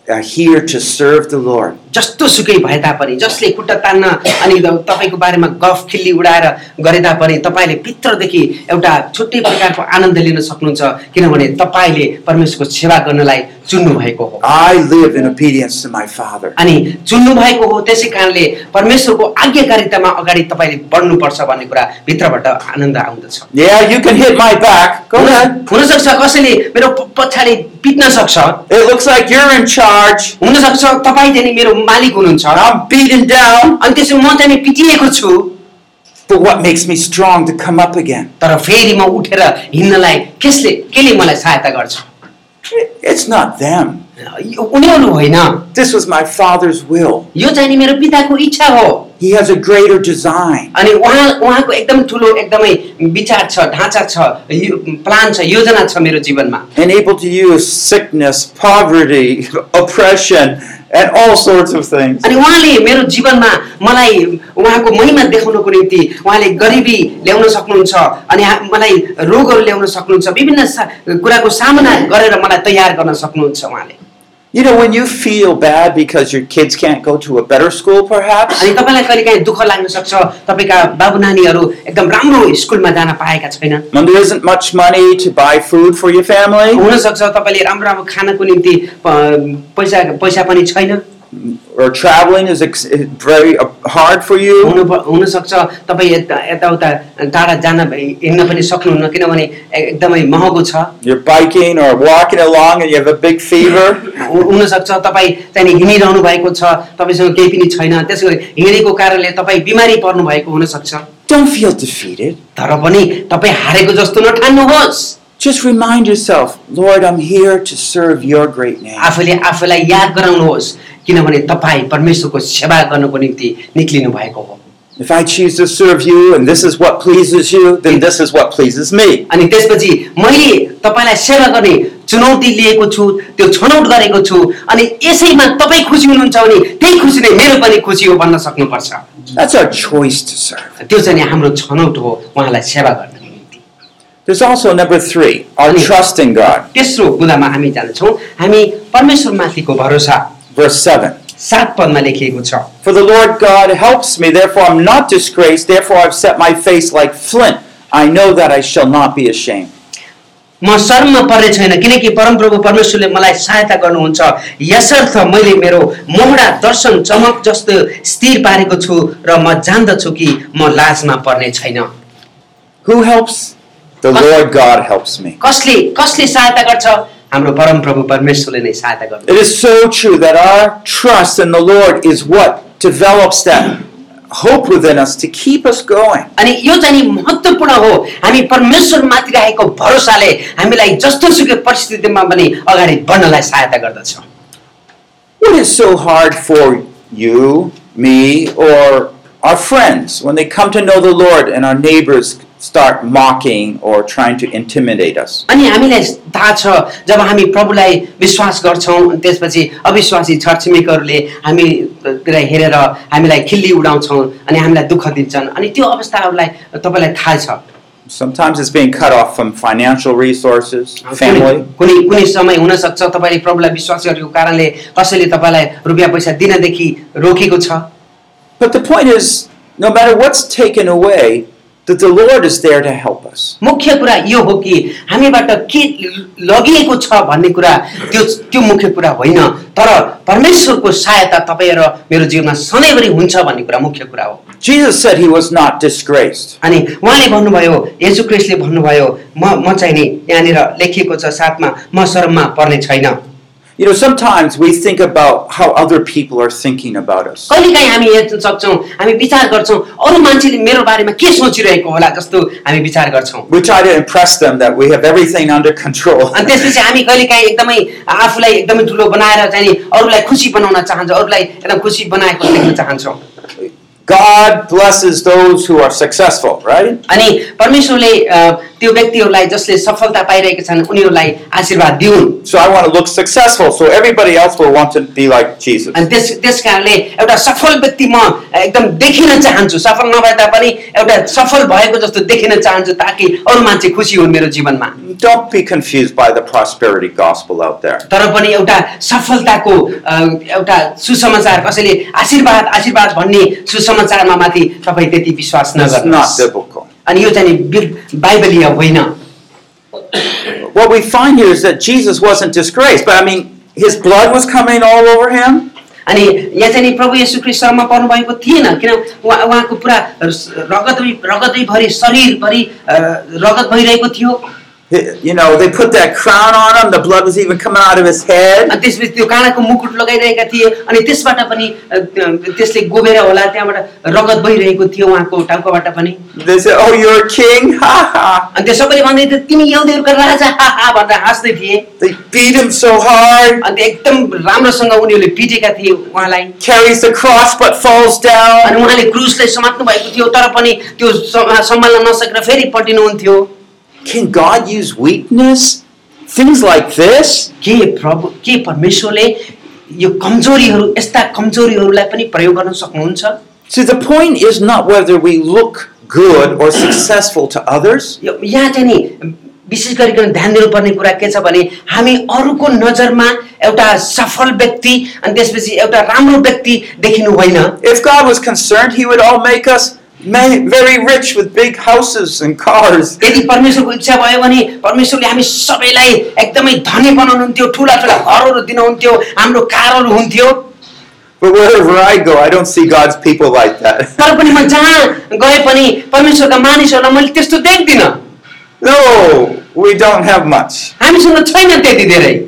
are here to serve the Lord.
जस्तो सुकै भए तापनि जसले खुट्टा तान्न अनि त- तपाईँको बारेमा गफ खिल्ली उडाएर गरे तापनि तपाईँले भित्रदेखि एउटा छुट्टै प्रकारको आनन्द लिन सक्नुहुन्छ किनभने तपाईँले परमेश्वरको सेवा गर्नलाई चुन्नु भएको हो
I live in obedience to my Father.
अनि चुन्नु भएको हो त्यसै कारणले परमेश्वरको आज्ञाकारितामा अगाडि तपाईँले बढ्नुपर्छ भन्ने कुरा भित्रबाट आनन्द आउँदछ
Yeah, you can hit my back. Go ahead.
हुनसक्छ कसैले मेरो प- पछाडि पिट्न सक्छ
It looks like you're in charge.
हुनसक्छ तपाईँ चाहिँ नि मेरो मालिक हुनुहुन्छ
I'm beaten down.
अनि त्यसो म चाहिँ नि पिटिएको छु
But what makes me strong to come up again?
तर फेरि म उठेर हिँड्नलाई कसले केले मलाई सहायता गर्छ
It's not them.
यो उनीहरू होइन
This was my Father's will.
यो चाहिँ नि मेरो पिताको इच्छा हो
He has a greater design.
अनि उहाँ उहाँको एकदम ठुलो एकदमै विचार छ ढाँचा छ यो प्लान छ योजना छ मेरो जीवनमा
And able to use sickness, poverty, oppression, and all sorts of things.
अनि उहाँले मेरो जीवनमा मलाई उहाँको महिमा देखाउनको निम्ति उहाँले गरिबी ल्याउन सक्नुहुन्छ अनि हा- मलाई रोगहरू ल्याउन सक्नुहुन्छ विभिन्न सा- कुराको सामना गरेर मलाई तयार गर्न सक्नुहुन्छ उहाँले
You know, when you feel bad because your kids can't go to a better school, perhaps,
अनि तपाईँलाई कहिले काहीँ दुःख लाग्न सक्छ तपाईँका बाबु नानीहरू एकदम राम्रो स्कुलमा जान पाएका छैनन्
when there isn't much money to buy food for your family,
हुनसक्छ तपाईँले राम्रो राम्रो खानको निम्ति प- पैसा पैसा पनि छैन
or traveling is ex- very uh, hard for you,
हुनु प- हुनसक्छ तपाईँ यता यताउता टाढा जान हिँड्न पनि सक्नुहुन्न किनभने ए- एकदमै महँगो छ
you're biking or walking along and you have a big fever,
हु- हुनसक्छ तपाईँ त्यहाँनिर हिँडिरहनु भएको छ तपाईँसँग केही पनि छैन त्यसो गरी हिँडेको कारणले तपाईँ बिमारी पर्नु भएको हुनसक्छ
don't feel defeated.
तर पनि तपाईँ हारेको जस्तो नठान्नुहोस्
Just remind yourself, Lord, I'm here to serve your great name.
आफूले आफूलाई याद गराउनुहोस् किनभने तपाईँ परमेश्वरको सेवा गर्नको निम्ति निक्लिनु भएको हो
If I choose to serve you and this is what pleases you, then this is what pleases me.
अनि त्यसपछि मैले तपाईँलाई सेवा गर्ने चुनौती लिएको छु त्यो छनौट गरेको छु अनि यसैमा तपाईँ खुसी हुनुहुन्छ भने त्यही खुसी नै मेरो पनि खुसी हो भन्न सक्नुपर्छ
That's our choice to serve.
त्यो चाहिँ नि हाम्रो छनौट हो उहाँलाई सेवा गर्नको निम्ति
There's also number three, our
Mm.
trust in God.
तेस्रो कुरामा हामी जान्छौँ हामी परमेश्वरमाथिको भरोसा
Verse 7.
सात पदमा लेखिएको छ
For the Lord God helps me, therefore I'm not disgraced, therefore I've set my face like flint. I know that I shall not be ashamed.
म शर्ममा पर्ने छैन किनकि परमप्रभु परमेश्वरले मलाई सहायता गर्नुहुन्छ यसर्थ मैले मेरो मोहडा दर्शन चमक जस्तो स्थिर पारेको छु र म जान्दछु कि म लाजमा पर्ने छैन
Who helps? The Lord God helps me.
कसले कसले सहायता गर्छ हाम्रो परमप्रभु परमेश्वरले नै सहायता गर्नु
It is so true that our trust in the Lord is what develops that hope within us to keep us going.
अनि यो चाहिँ नि महत्त्वपूर्ण हो हामी परमेश्वरमाथि राखेको भरोसाले हामीलाई जस्तो सुकै परिस्थितिमा पनि अगाडि बढ्नलाई सहायता गर्दछ
What is so hard for you, me, or our friends when they come to know the Lord and our neighbors start mocking or trying to intimidate us?
अनि हामीलाई थाहा छ जब हामी प्रभुलाई विश्वास गर्छौँ अनि त्यसपछि अविश्वासी छरछिमेकहरूले हामीलाई हेरेर हामीलाई खिल्ली उडाउँछौँ अनि हामीलाई दुःख दिन्छन् अनि त्यो अवस्थाहरूलाई तपाईँलाई थाहा छ
Sometimes it's being cut off from financial resources,
कुनै
family.
कुनै कुनै समय हुनसक्छ तपाईँले प्रभुलाई विश्वास गरेको कारणले कसैले तपाईँलाई रुपियाँ पैसा दिनदेखि रोकेको छ
But the point is, no matter what's taken away, that the Lord is there to help us.
मुख्य कुरा यो हो कि हामीबाट के लगिएको छ भन्ने कुरा त्यो त्यो मुख्य कुरा होइन तर परमेश्वरको सहायता तपाईँ र मेरो जीवनमा सधैँभरि हुन्छ भन्ने कुरा मुख्य कुरा हो
Jesus said he was not disgraced.
अनि उहाँले भन्नुभयो येशू क्रिस्टले भन्नुभयो म म चाहिँ नि यहाँनिर लेखिएको छ साथमा म शर्ममा पर्ने छैन
You know, sometimes we think about how other people are thinking about us.
कहिलेकाहीँ हामी हेर्न सक्छौँ हामी विचार गर्छौँ अरू मान्छेले मेरो बारेमा के सोचिरहेको होला जस्तो हामी विचार गर्छौँ
We try to impress them that we have everything under control.
अनि त्यसपछि हामी कहिलेकाहीँ एकदमै आफूलाई एकदमै ठुलो बनाएर चाहिँ नि अरूलाई खुसी बनाउन चाहन्छौँ अरूलाई एकदम खुसी बनाएको देख्न चाहन्छौँ
God blesses those who are successful, right?
अनि परमेश्वरले अ, त्यो व्यक्तिहरूलाई जसले सफलता पाइरहेका छन् उनीहरूलाई आशीर्वाद दिउन्
So I want to look successful so everybody else will want to be like Jesus.
अनि त्यस त्यस कारणले एउटा सफल व्यक्ति म एकदम देखिन चाहन्छु सफल नभए तापनि एउटा सफल भएको जस्तो देखिन चाहन्छु ताकि अरू मान्छे खुसी हुन् मेरो जीवनमा
Don't be confused by the prosperity gospel out there.
तर पनि एउटा सफलताको अ, एउटा सुसमाचार कसैले आशीर्वाद आशीर्वाद भन्ने सुसमाचारमा माथि तपाईँ त्यति विश्वास
It's not
नगर्नुहोस्
biblical.
अनि यो चाहिँ नि बिल- बाइबलीय होइन
What we find here is that Jesus wasn't disgraced, but I mean, his blood was coming all over him.
अनि यहाँ चाहिँ नि प्रभु येशू ख्रिस्ट शर्मा पर्नु भएको थिएन किन उहाँ उहाँको पुरा रगत रगतैभरि शरीरभरि अ, रगत भइरहेको थियो
He- You know, they put that crown on him, the blood was even coming out of his
अनि
head.
त्यसपछि त्यो काँडाको मुकुट लगाइरहेका थिए अनि त्यसबाट पनि अ, त्यो- त्यसले गोबेर होला त्यहाँबाट रगत बहिरहेको थियो उहाँको टाउकोबाट पनि
They said, Oh, you're a king? Ha ha.
अनि त्यो सबैले भन्दै थियो तिमी यहुदीहरूको राजा हा हा भनेर हाँस्दै थिए
They beat him so hard,
अनि त्यो एकदम राम्रोसँग उनीहरूले पिटेका थिए उहाँलाई
carries the cross but falls
अनि
down.
उहाँले क्रुसलाई समात्नु भएको थियो तर पनि त्यो सम- सम्हाल्न नसकेर फेरि पल्टिनुहुन्थ्यो
Can God use weakness? Things like this?
के प्रभु के परमेश्वरले यो कमजोरीहरू यस्ता कमजोरीहरूलाई पनि प्रयोग गर्न सक्नुहुन्छ
See, the point is not whether we look good or successful to others.
यो- यहाँ चाहिँ नि विशेष गरिकन ध्यान दिनुपर्ने कुरा के छ भने हामी अरूको नजरमा एउटा सफल व्यक्ति अनि त्यसपछि एउटा राम्रो व्यक्ति देखिनु होइन
If God was concerned, He would all make us ma- very rich with big houses and cars.
यदि परमेश्वरको इच्छा भयो भने परमेश्वरले हामी सबैलाई एकदमै धनी बनाउनुहुन्थ्यो ठुला ठुला घरहरू दिनुहुन्थ्यो हाम्रो कारहरू हुन्थ्यो
But wherever I go, I don't see God's people like that.
तर पनि म जहाँ गए पनि परमेश्वरका मानिसहरूलाई मैले त्यस्तो देख्दिनँ
No, we don't have much.
हामीसँग छैन त्यति धेरै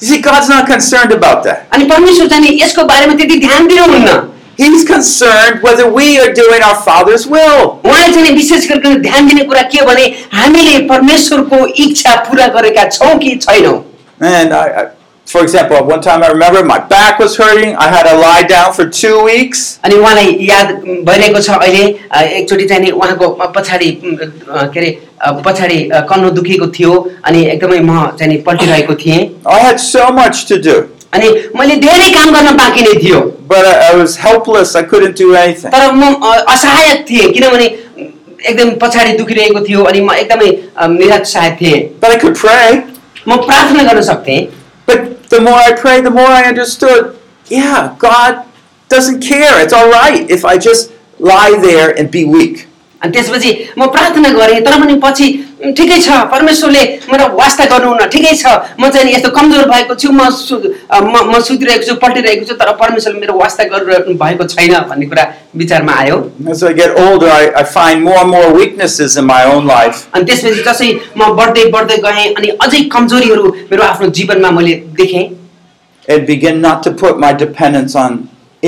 You see, God's not concerned about that.
अनि परमेश्वर चाहिँ नि यसको बारेमा त्यति ध्यान दिनुहुन्न
He's concerned whether we are doing our Father's will.
उहाँले चाहिँ नि विशेष गरिकन ध्यान दिने कुरा के हो भने हामीले परमेश्वरको इच्छा पुरा गरेका छौँ कि छैनौँ
And I, I, for example, one time I remember my back was hurting. I had to lie down for two weeks.
अनि उहाँलाई याद भइरहेको छ अहिले अ, एकचोटि चाहिँ नि उहाँको पछाडि अ, के अरे अ, पछाडि अ, कन्नु दुखेको थियो अनि एकदमै म चाहिँ नि पल्टिरहेको थिएँ
I had so much to do,
अनि मैले धेरै काम गर्न बाँकी नै थियो
but I, I was helpless. I couldn't do anything.
तर म अ, असहायक थिएँ किनभने एकदम पछाडि दुखिरहेको थियो अनि म एकदमै अ, निराशायक थिएँ
But I could pray.
म प्रार्थना गर्न सक्थेँ
But the more I prayed, the more I understood yeah, God doesn't care. It's all right if I just lie there and be weak.
अनि त्यसपछि म प्रार्थना गरेँ तर पनि पछि "उम्, ठिकै छ परमेश्वरले मेरो वास्ता गर्नुहुन्न ठिकै छ म चाहिँ नि यस्तो कमजोर भएको छु म सु अ, म म सुतिरहेको छु पल्टिरहेको छु तर परमेश्वरले मेरो वास्ता गरिरहनु भएको छैन भन्ने कुरा विचारमा आयो
As I get older, I, I find more and more weaknesses in my own life.
अनि त्यसपछि जसै म बढ्दै बढ्दै गएँ अनि अझै कमजोरीहरू मेरो आफ्नो जीवनमा मैले देखेँ
and begin not to put my dependence on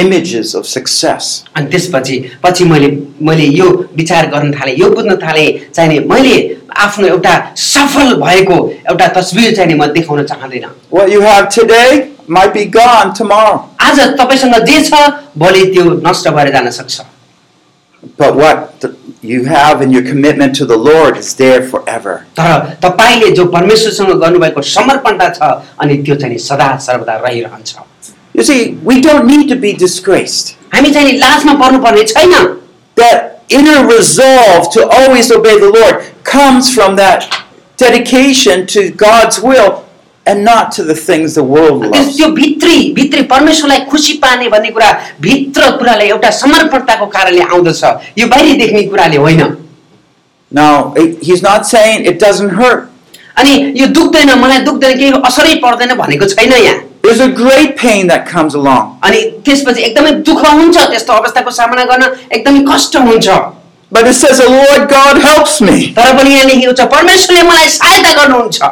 images of success.
अनि त्यसपछि पछि मैले मैले यो विचार गर्न थालेँ यो बुझ्न थालेँ चाहिने मैले आफ्नो एउटा सफल भएको एउटा तस्बिर चाहिने म देखाउन चाहँदैन
What you have today might be gone tomorrow,
आज तपाईँसँग जे छ भोलि त्यो नष्ट भएर जान सक्छ
but what th- you have and your commitment to the Lord is there forever.
तर तपाईँले जो परमेश्वरसँग गर्नुभएको समर्पणता छ अनि त्यो चाहिँ नि सदा सर्वदा रहिरहन्छ
You see, we don't need to be disgraced.
हामी चाहिँ नि लाजमा पर्नुपर्ने छैन
That inner resolve to always obey the Lord comes from that dedication to God's will and not to the things the world
त्यस-
loves.
त्यो भित्री भित्री परमेश्वरलाई खुसी पार्ने भन्ने कुरा भित्र कुराले एउटा समर्पणताको कारणले आउँदछ यो बाहिरी देख्ने कुराले होइन
Now, it- he's not saying it doesn't hurt.
अनि यो दुख्दैन मलाई दुख्दैन केही असरै पर्दैन भनेको छैन यहाँ
There's a great pain that comes along,
अनि त्यसपछि एकदमै दुःख हुन्छ त्यस्तो अवस्थाको सामना गर्न एकदमै कष्ट हुन्छ
but it says, The Lord God helps me.
तर पनि यहाँ लेखेको छ परमेश्वरले मलाई सहायता गर्नुहुन्छ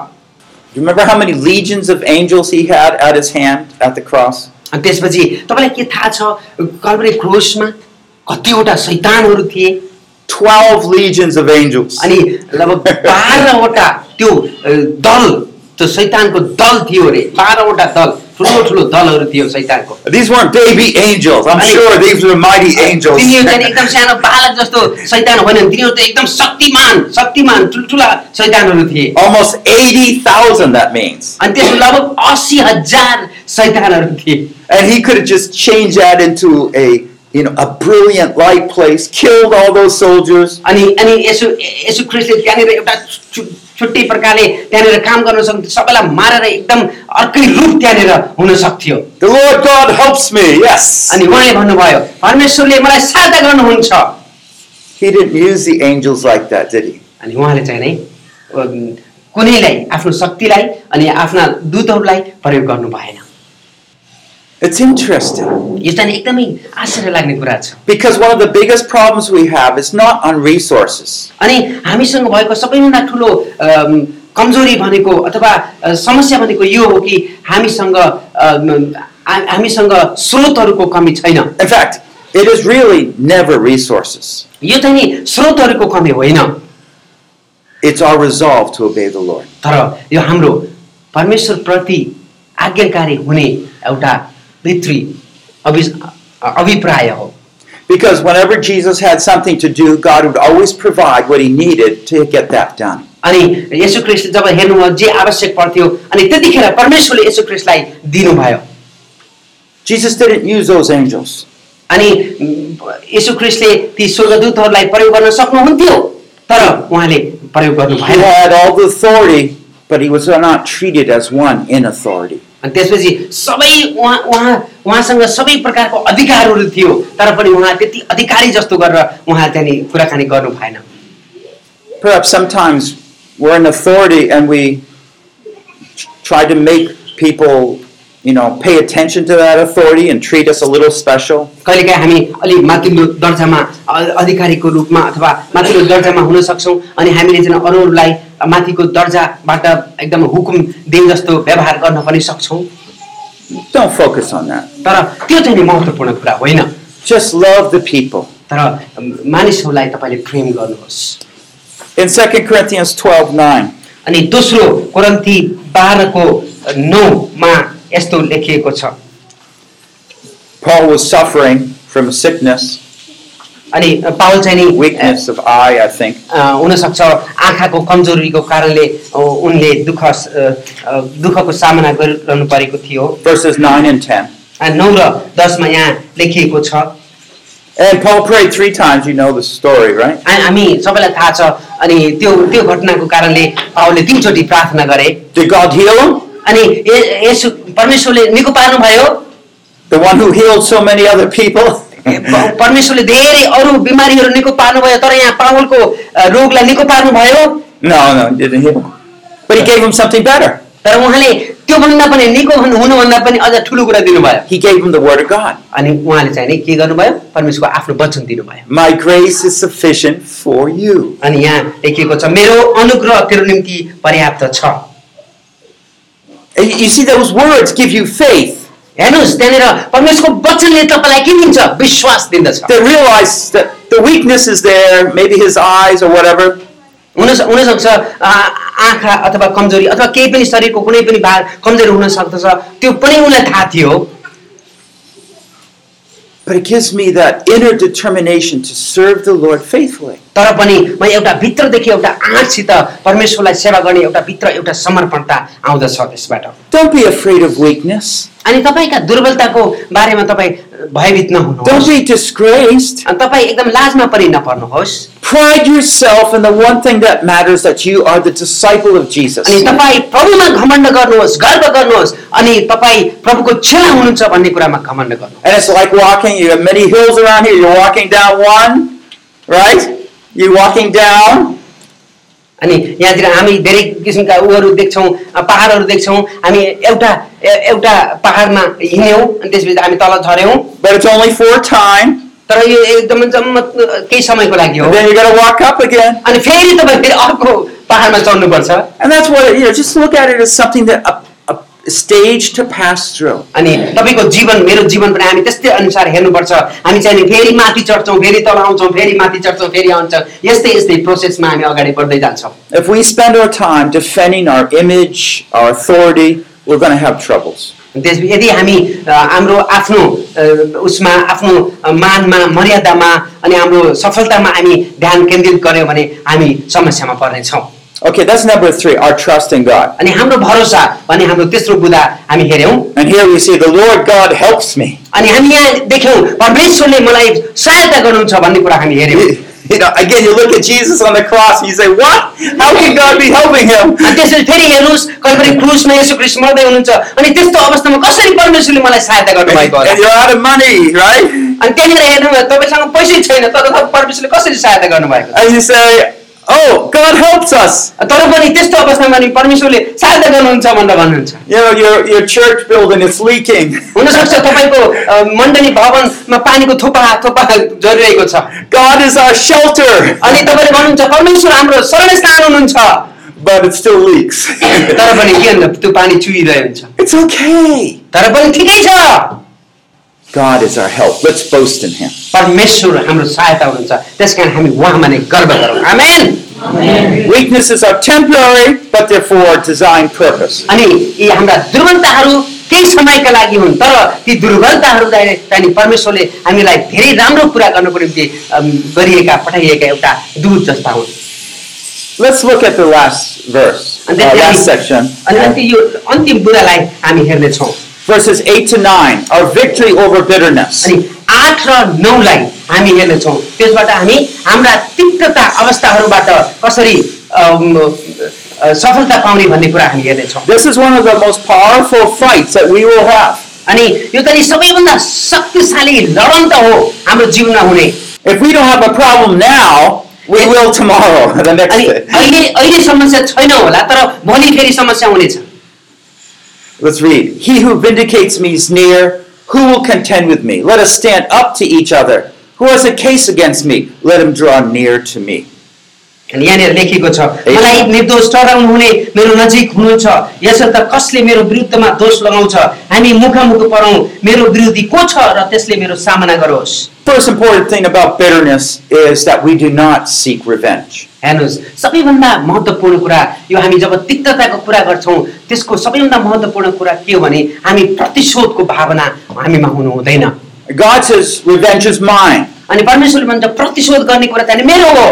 You remember how many legions of angels he had at his hand at the cross?
अनि त्यसपछि तपाईँलाई के थाहा छ कल्परे क्रोसमा कतिवटा शैतानहरू थिए
Twelve legions of angels.
अनि लगभग बाह्रवटा त्यो अ, दल त्यो शैतानको दल थियो अरे बाह्रवटा दल ठुलो ठुलो दलहरू थियो शैतानको
These weren't baby angels. I'm
Honey.
sure these were mighty angels.
तिनीहरू चाहिँ एकदम सानो बालक जस्तो शैतान होइनन् तिनीहरू त एकदम शक्तिमान शक्तिमान ठुल्ठुला शैतानहरू थिए
Almost 80,000, that means.
अनि त्यसको लगभग असी हजार शैतानहरू थिए
And he could have just changed that into a, you know, a brilliant light place, killed all those soldiers.
अनि अनि यसो यसो ख्रिस्टले त्यहाँनिर एउटा छु- छुट्टै प्रकारले त्यहाँनिर काम गर्न सक्थ्यो सबैलाई मारेर एकदम अर्कै रूप त्यहाँनिर हुन सक्थ्यो
The Lord God helps me, yes.
अनि उहाँले भन्नुभयो परमेश्वरले मलाई सहायता गर्नुहुन्छ
He didn't use the angels like that, did he?
अनि उहाँले चाहिँ नै अम, कुनैलाई आफ्नो शक्तिलाई अनि आफ्ना दूतहरूलाई प्रयोग गर्नु भएन
It's interesting
यो चाहिँ एकदमै आश्चर्य लाग्ने कुरा छ
because one of the biggest problems we have is not on resources,
अनि हामीसँग भएको सबैभन्दा ठुलो अम, कमजोरी भनेको अथवा अ, समस्या भनेको यो हो कि हामीसँग अम, हा- हामीसँग स्रोतहरूको कमी छैन
in fact, it is really never resources.
यो चाहिँ नि स्रोतहरूको कमी होइन
It's our resolve to obey the Lord.
तर यो हाम्रो परमेश्वरप्रति आज्ञाकारी हुने एउटा भित्री अभि अभिप्राय हो
Because whenever Jesus had something to do, God would always provide what he needed to get that done.
अनि यसो क्रिस्ट जब हेर्नुभयो जे आवश्यक पर्थ्यो अनि त्यतिखेर परमेश्वरले यसो क्रिस्टलाई दिनुभयो
Jesus didn't use those angels.
अनि यसु ख्रिस्टले ती स्वर्गदूतहरूलाई प्रयोग गर्न सक्नुहुन्थ्यो तर उहाँले प्रयोग गर्नु
He
भएन
had all the authority, but he was not treated as one in authority.
अनि त्यसपछि सबै उहाँ उहाँ उहाँसँग सबै प्रकारको अधिकारहरू थियो तर पनि उहाँ त्यति अधिकारी जस्तो गरेर उहाँ त्यहाँनिर कुराकानी गर्नु भएन
Perhaps sometimes we're in authority and we try to make people, you know, pay attention to that authority and treat us a little special.
कहिलेकाहीँ हामी अलिक माथिल्लो दर्जामा अ- अधिकारीको रूपमा अथवा माथिल्लो दर्जामा हुन सक्छौँ अनि हामीले चाहिँ अरूहरूलाई माथिको दर्जाबाट एकदम हुकुम दिए जस्तो व्यवहार गर्न पनि सक्छौँ
Don't focus on that.
तर त्यो चाहिँ नि महत्त्वपूर्ण कुरा होइन
Just love the people.
तर मानिसहरूलाई तपाईँले प्रेम गर्नुहोस्
In 2 Corinthians 12 9,
अनि दोस्रो कोरन्ती बाह्रको नौमा यस्तो लेखिएको छ
Paul was suffering from sickness.
अनि पावल चाहिँ नि
weakness of eye, I think.
अ, हुनसक्छ आँखाको कमजोरीको कारणले अ, उनले दुःख अ, अ, दुःखको सामना गरिरहनु परेको थियो
Verses 9 and 10.
अ, नौ र दसमा यहाँ लेखिएको छ
And Paul prayed three times. You know the story, right?
आ- हामी सबैलाई थाहा छ अनि त्यो त्यो घटनाको कारणले पावलले तिनचोटि प्रार्थना गरे
Did God heal him?
अनि ये- येशू परमेश्वरले निको पार्नुभयो
The one who healed so many other people?
प- परमेश्वरले धेरै अरू बिमारीहरू निको पार्नुभयो तर यहाँ पावलको अ, रोगलाई निको पार्नुभयो
no, no, he didn't heal him. But he gave him something better.
तर उहाँले त्योभन्दा पनि निको हुनु- हुनुभन्दा पनि अझ ठुलो कुरा दिनुभयो
He gave him the word of God.
अनि उहाँले चाहिँ नि के गर्नुभयो परमेश्वरको आफ्नो वचन दिनुभयो
My grace is sufficient for you.
अनि यहाँ लेखिएको छ मेरो अनुग्रह तेरो निम्ति पर्याप्त छ
And You you see, those words give you faith.
हेर्नुहोस् त्यहाँनिर परमेश्वरको वचनले तपाईँलाई के दिन्छ विश्वास दिन्दछ
They realize that the weakness is there, maybe his eyes or whatever.
हुन हुनसक्छ आ- आँखा अथवा कमजोरी अथवा केही पनि शरीरको कुनै पनि भाग कमजोरी हुन सक्दछ त्यो पनि उनलाई थाहा थियो
But it gives me that inner determination to serve the Lord faithfully.
तर पनि म एउटा भित्रदेखि एउटा आँटसित परमेश्वरलाई सेवा गर्ने एउटा भित्र एउटा समर्पणता आउँदछ त्यसबाट
Don't be afraid of weakness.
अनि तपाईँका दुर्बलताको बारेमा तपाईँ भयभीत
Don't
नहुनुहोस्
be disgraced.
अनि तपाईँ एकदम लाजमा पनि नपर्नुहोस्
Pride yourself in the one thing that matters that you are the disciple of Jesus.
अनि तपाईँ प्रभुमा घमण्ड गर्नुहोस् गर्व गर्नुहोस् अनि तपाईँ प्रभुको चेला हुनुहुन्छ भन्ने कुरामा घमण्ड गर्नुहोस्
And it's like walking, you have many hills around here. You're walking down one, right? You're walking down,
अनि यहाँतिर हामी धेरै किसिमका उहरू देख्छौँ अ, पाहाडहरू देख्छौँ हामी एउटा ए- एउटा पाहाडमा हिँड्यौँ अनि त्यसपछि हामी तल झऱ्यौँ
But it's only for a time,
तर यो एकदम जम्म केही समयको लागि हो
and then you gotta walk up again.
अनि फेरि तपाईँ फेरि अर्को पाहाडमा चढ्नुपर्छ
And that's what, you know, just look at it as something that, a, a stage to pass through.
अनि तपाईँको जीवन मेरो जीवन पनि हामी त्यस्तै अनुसार हेर्नुपर्छ हामी चाहिँ नि फेरि माथि चढ्छौँ फेरि तल आउँछौँ फेरि माथि चढ्छौँ फेरि आउँछौँ यस्तै यस्तै प्रोसेसमा हामी अगाडि बढ्दै जान्छौँ
If we spend our time defending our image, our authority, we're gonna have troubles.
त्यस यदि हामी अ, हाम्रो आफ्नो अ, उसमा आफ्नो अ, मानमा मर्यादामा अनि हाम्रो सफलतामा हामी ध्यान केन्द्रित गऱ्यौँ भने हामी समस्यामा पर्नेछौँ
Okay, that's number three, our trust in God.
अनि हाम्रो भरोसा भने हाम्रो तेस्रो बुधा हामी हेऱ्यौँ
And here we see the Lord God helps me.
अनि हामी यहाँ देख्यौँ परमेश्वरले मलाई सहायता गर्नुहुन्छ भन्ने कुरा हामी हेऱ्यौँ
You you know, again, you look at Jesus on the cross and you say, What? How can God be helping
अनि
him?
त्यसपछि फेरि हेर्नुहोस् कहिले क्रुसमा यसो कृष्ण मर्दै हुनुहुन्छ अनि त्यस्तो अवस्थामा कसरी परमेश्वरले मलाई सहायता गर्नुभएको होला
And you're out of money, right?
अनि त्यहाँनिर हेर्नु तपाईँसँग पैसै छैन तर तपाईँ परमेश्वरले कसरी सहायता गर्नुभएको
And you say, Oh, God helps us.
तर पनि त्यस्तो अवस्थामा पनि परमेश्वरले सहायता गर्नुहुन्छ भनेर भन्नुहुन्छ
You know, your, your church building is leaking.
हुनसक्छ तपाईँको अ, मण्डली भवनमा पानीको थोपा थोपा झरिरहेको छ
God is our shelter,
अनि तपाईँले भन्नुहुन्छ परमेश्वर हाम्रो शरणस्थान हुनुहुन्छ
but it still leaks.
तर पनि के भन्नु त्यो पानी चुहिरहेको हुन्छ
It's okay.
तर पनि ठिकै छ
God is our help. Let's boast in Him.
परमेश्वर हाम्रो सहायता हुनुहुन्छ त्यस कारण हामी उहाँमा नै गर्व गरौँ आमेन
Weaknesses are temporary, but they're for a designed purpose.
अनि यी हाम्रा दुर्बलताहरू केही समयका लागि हुन् तर ती दुर्बलताहरूलाई चाहिँ नि परमेश्वरले हामीलाई धेरै राम्रो कुरा गर्नको निम्ति अम, गरिएका पठाइएका एउटा दूत जस्ता हुन्
Let's look at the last verse, uh,
And then we-
last section.
अनि अन्ति यो अन्तिम बुढालाई हामी हेर्नेछौँ
Verses 8 to 9, our victory over bitterness.
अनि आठ र नौलाई हामी हेर्नेछौँ त्यसबाट हामी हाम्रा तिक्तता अवस्थाहरूबाट कसरी अम, अ, सफलता पाउने भन्ने कुरा हामी हेर्नेछौँ
This is one of the most powerful fights that we will have.
अनि यो त नि सबैभन्दा शक्तिशाली लडन त हो हाम्रो जीवनमा हुने
If we don't have a problem now, we will tomorrow, the next
अनि
day.
अहिले अहिले समस्या छैन होला तर भोलि फेरि समस्या हुनेछ
Let's read. He who vindicates me is near. Who will contend with me? Let us stand up to each other. Who has a case against me? Let him draw near to me.
अनि यहाँनिर लेखिएको छ मलाई निर्दोष ठहराउनु हुने मेरो नजिक हुनुहुन्छ यसर्थ कसले मेरो विरुद्धमा दोष लगाउँछ हामी मुखामुख परौँ मेरो विरोधी को छ र त्यसले मेरो सामना गरोस्
First important thing about bitterness is that we do not seek revenge.
हेर्नुहोस् सबैभन्दा महत्त्वपूर्ण कुरा यो हामी जब तिक्तताको कुरा गर्छौँ त्यसको सबैभन्दा महत्त्वपूर्ण कुरा के हो भने हामी प्रतिशोधको भावना हामीमा हुनु हुँदैन
God says, Revenge is mine.
अनि परमेश्वरले भन्छ प्रतिशोध गर्ने कुरा चाहिँ मेरो हो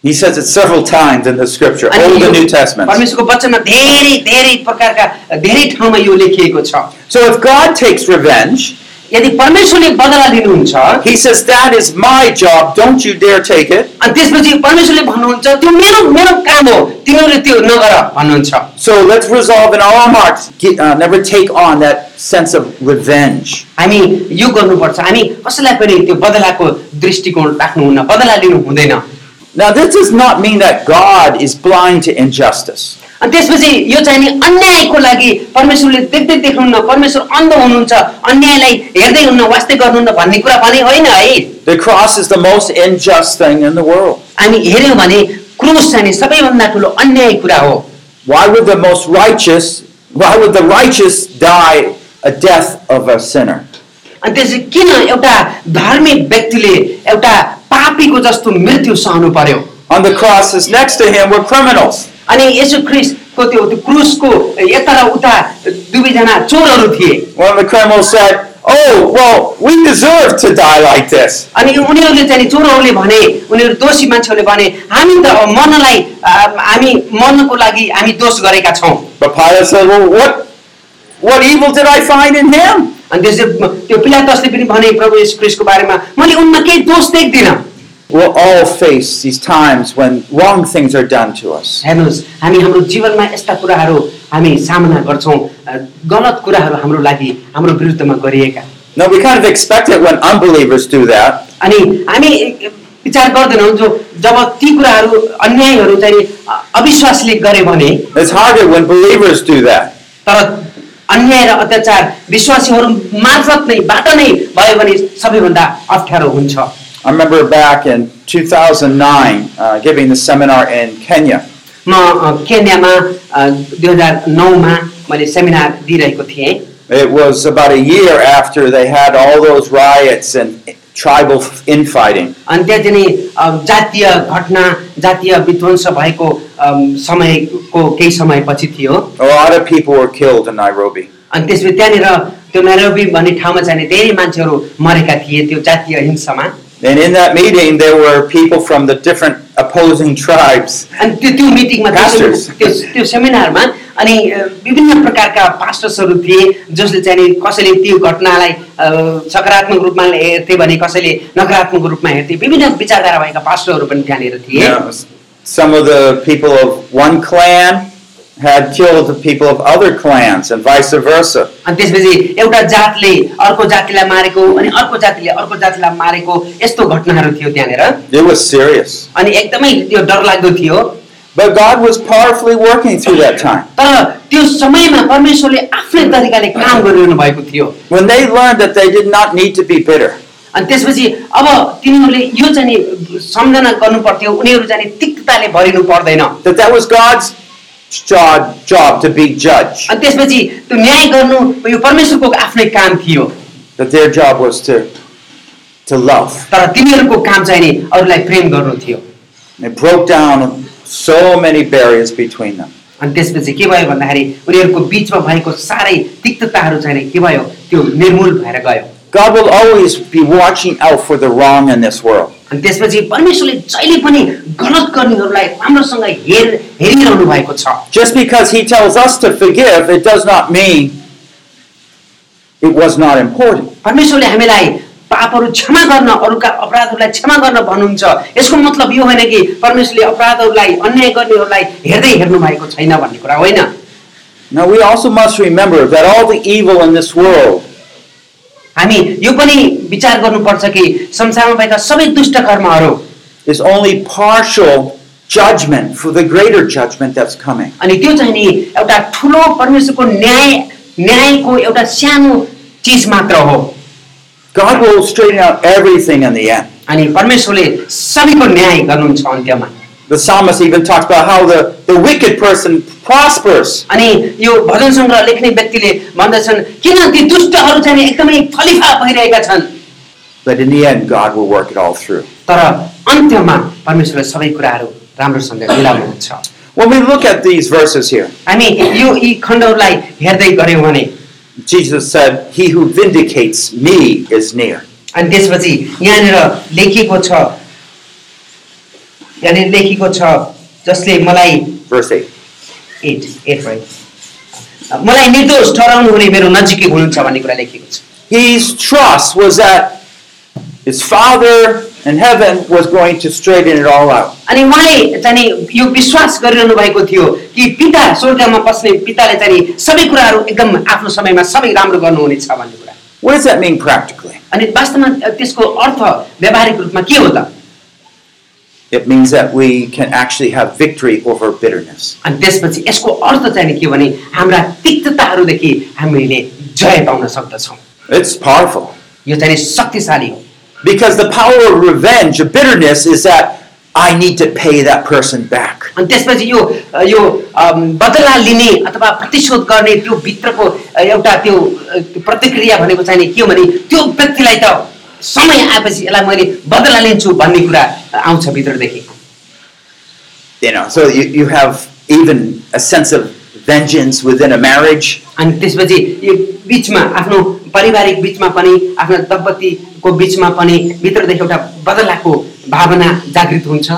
He says it several times in the scripture,
अनि
Old
yo
and New Testament.
परमेश्वरको वचनमा धेरै धेरै प्रकारका धेरै ठाउँमा यो लेखिएको छ
So if God takes revenge,
यदि परमेश्वरले बदला लिनुहुन्छ
He says, That is my job. Don't you dare take it.
अनि त्यसपछि परमेश्वरले भन्नुहुन्छ त्यो मेरो मेरो काम हो तिमीहरूले त्यो नगर भन्नुहुन्छ
So let's resolve in our own hearts. Get, uh, never take on that sense of revenge.
हामी यो गर्नुपर्छ हामी कसैलाई पनि त्यो बदलाको दृष्टिकोण राख्नुहुन्न बदला लिनु हुँदैन
Now, this does not mean that God is blind to injustice.
अनि त्यसपछि यो चाहिँ नि अन्यायको लागि परमेश्वरले देख्दै देख्नुहुन्न परमेश्वर अन्ध हुनुहुन्छ अन्यायलाई हेर्दै हुन्न वास्तै गर्नुहुन्न भन्ने कुरा भने होइन है
The cross is the most unjust thing in the world.
हामी हेऱ्यौँ भने क्रुस चाहिँ नि सबैभन्दा ठुलो अन्याय कुरा हो
Why would the most righteous, why would the righteous die a death of a sinner?
अनि त्यसै किन एउटा धार्मिक व्यक्तिले एउटा पापीको जस्तो मृत्यु सहनु पर्यो
On the crosses next to him were criminals.
अनि यसो क्रिस्टको त्यो त्यो क्रुसको यता र उता दुवैजना चोरहरू थिए
One of the criminals said, Oh, well, we deserve to die like this.
अनि उनीहरूले चाहिँ नि चोरहरूले भने उनीहरू दोषी मान्छेहरूले भने हामी त मर्नलाई आ, हामी मर्नको लागि हामी दोष गरेका छौँ
But Pilate said, Well, what, what evil did I find in him?
अनि त्यसै त्यो पिलातसले पनि भने प्रभु यशु क्रिस्टको बारेमा मैले उनमा केही दोष देख्दिनँ
We'll all face these times when wrong things are done to us.
हेर्नुहोस् हामी हाम्रो जीवनमा यस्ता कुराहरू हामी सामना गर्छौँ अ, गलत कुराहरू हाम्रो लागि हाम्रो विरुद्धमा गरिएका
Now, we kind of expect it when unbelievers do that,
अनि हामी विचार गर्दैनौँ जो जब ती कुराहरू अन्यायहरू चाहिँ अ- अविश्वासले गरे भने
It's harder when believers do that.
तर अन्याय र अत्याचार विश्वासीहरू मार्फत नै बाट नै भयो भने सबैभन्दा अप्ठ्यारो हुन्छ
I remember back in 2009 uh, giving the seminar in Kenya.
म अ, केन्यामा दुई हजार नौमा मैले सेमिनार दिइरहेको थिएँ
It was about a year after they had all those riots and tribal infighting.
अनि त्यहाँ चाहिँ नि, अ, जातीय घटना जातीय विध्वंस भएको अम, समयको केही समयपछि थियो
A lot of people were killed in Nairobi.
अनि त्यसपछि त्यहाँनिर त्यो नैरोबी भन्ने ठाउँमा चाहिँ नि धेरै मान्छेहरू मरेका थिए त्यो जातीय हिंसामा
And in that meeting, there were people from the different opposing tribes.
अनि त्यो त्यो मिटिङमा त्यो
Pastors.
त्यो त्यो सेमिनारमा अनि अ, विभिन्न प्रकारका पास्टर्सहरू थिए जसले चाहिँ नि कसैले त्यो घटनालाई अ, सकारात्मक रूपमा हेर्थे भने कसैले नकारात्मक रूपमा हेर्थे विभिन्न विचारधारा भएका पास्टरहरू पनि त्यहाँनिर थिए
You know, some of the people of one clan had killed the people of other clans, and vice versa.
अनि त्यसपछि एउटा जातले अर्को जातिलाई मारेको अनि अर्को जातिले अर्को जातिलाई मारेको यस्तो घटनाहरू थियो त्यहाँनिर
It was serious.
अनि एकदमै त्यो डरलाग्दो थियो
But God was powerfully working through that time.
तर त्यो समयमा परमेश्वरले आफ्नै तरिकाले काम गरिरहनु भएको थियो
When they learned that they did not need to be bitter,
अनि त्यसपछि अब तिनीहरूले यो चाहिँ नि सम्झना गर्नु पर्थ्यो उनीहरू चाहिँ नि तिक्तताले भरिनु पर्दैन अनि
that that was God's job, job to be judge,
त्यसपछि त्यो न्याय गर्नु यो परमेश्वरको आफ्नै काम थियो
that their job was to, to love.
तर तिनीहरूको काम चाहिँ नि अरूलाई प्रेम गर्नु थियो
It broke down so many barriers between them.
अनि त्यसपछि के भयो भन्दाखेरि उनीहरूको बिचमा भएको साह्रै तिक्तताहरू चाहिँ नि के भयो त्यो निर्मूल भएर गयो
God will always be watching out for the wrong in this world.
अनि त्यसपछि परमेश्वरले जहिले पनि गलत गर्नेहरूलाई राम्रोसँग हेर हेरिरहनु भएको छ
Just because He tells us to forgive, it does not mean it was not important.
परमेश्वरले हामीलाई पापहरू क्षमा गर्न अरूका अपराधहरूलाई क्षमा गर्न भन्नुहुन्छ यसको मतलब यो होइन कि परमेश्वरले अपराधहरूलाई अन्याय गर्नेहरूलाई हेर्दै हेर्नु भएको छैन भन्ने कुरा होइन
Now, we also must remember that all the evil in this world
हामी यो पनि विचार गर्नुपर्छ कि संसारमा भएका सबै दुष्ट कर्महरू
is only partial judgment for the greater judgment that's coming.
अनि त्यो चाहिँ नि एउटा ठुलो परमेश्वरको न्याय न्यायको एउटा सानो चिज मात्र हो
God will straighten out everything in the end.
अनि परमेश्वरले सबैको न्याय गर्नुहुन्छ अन्त्यमा
The psalmist even talks about how the, the wicked person prospers.
अनि यो भजन सङ्ग्रह लेख्ने व्यक्तिले भन्दछन् किन ती दुष्टहरू चाहिँ नि एकदमै फलिफा भइरहेका छन्
But in the end, God will work it all through.
तर अन्त्यमा परमेश्वरले सबै कुराहरू राम्रोसँग मिलाउनुहुन्छ
When we look at these verses here,
हामी यो यी खण्डहरूलाई हेर्दै गऱ्यौँ भने
Jesus said, He who vindicates me is near.
अनि त्यसपछि यहाँनिर लेखिएको छ यहाँनिर लेखिएको छ जसले मलाई
Verse 8.
एट एट भयो मलाई निर्दोष ठहराउनु हुने मेरो नजिकै हुनुहुन्छ भन्ने कुरा लेखिएको छ
His trust was that his Father in heaven was going to straighten it all out.
अनि उहाँले चाहिँ नि यो विश्वास गरिरहनु भएको थियो कि पिता स्वर्गमा बस्ने पिताले चाहिँ नि सबै कुराहरू एकदम आफ्नो समयमा सबै राम्रो गर्नुहुनेछ भन्ने कुरा
What does that mean practically?
अनि वास्तवमा त्यसको अर्थ व्यावहारिक रूपमा के हो त
It means that we can actually have victory over bitterness.
अनि त्यसपछि यसको अर्थ चाहिँ नि के भने हाम्रा तिक्तताहरूदेखि हामीले जय पाउन सक्दछौँ
It's powerful.
यो चाहिँ नि शक्तिशाली हो
Because the power of revenge, of bitterness, is that I need to pay that person back.
अनि त्यसपछि यो यो अम, बदला लिने अथवा प्रतिशोध गर्ने त्यो भित्रको एउटा त्यो अ, त्यो प्रतिक्रिया भनेको चाहिँ नि के हो भने त्यो व्यक्तिलाई त समय आएपछि यसलाई मैले बदला लिन्छु भन्ने कुरा आउँछ भित्रदेखि
You know, so you, you have even a sense of vengeance within a marriage.
अनि त्यसपछि यो बिचमा आफ्नो पारिवारिक बिचमा पनि आफ्नो दम्पतिको बिचमा पनि भित्रदेखि एउटा बदलाको भावना जागृत हुन्छ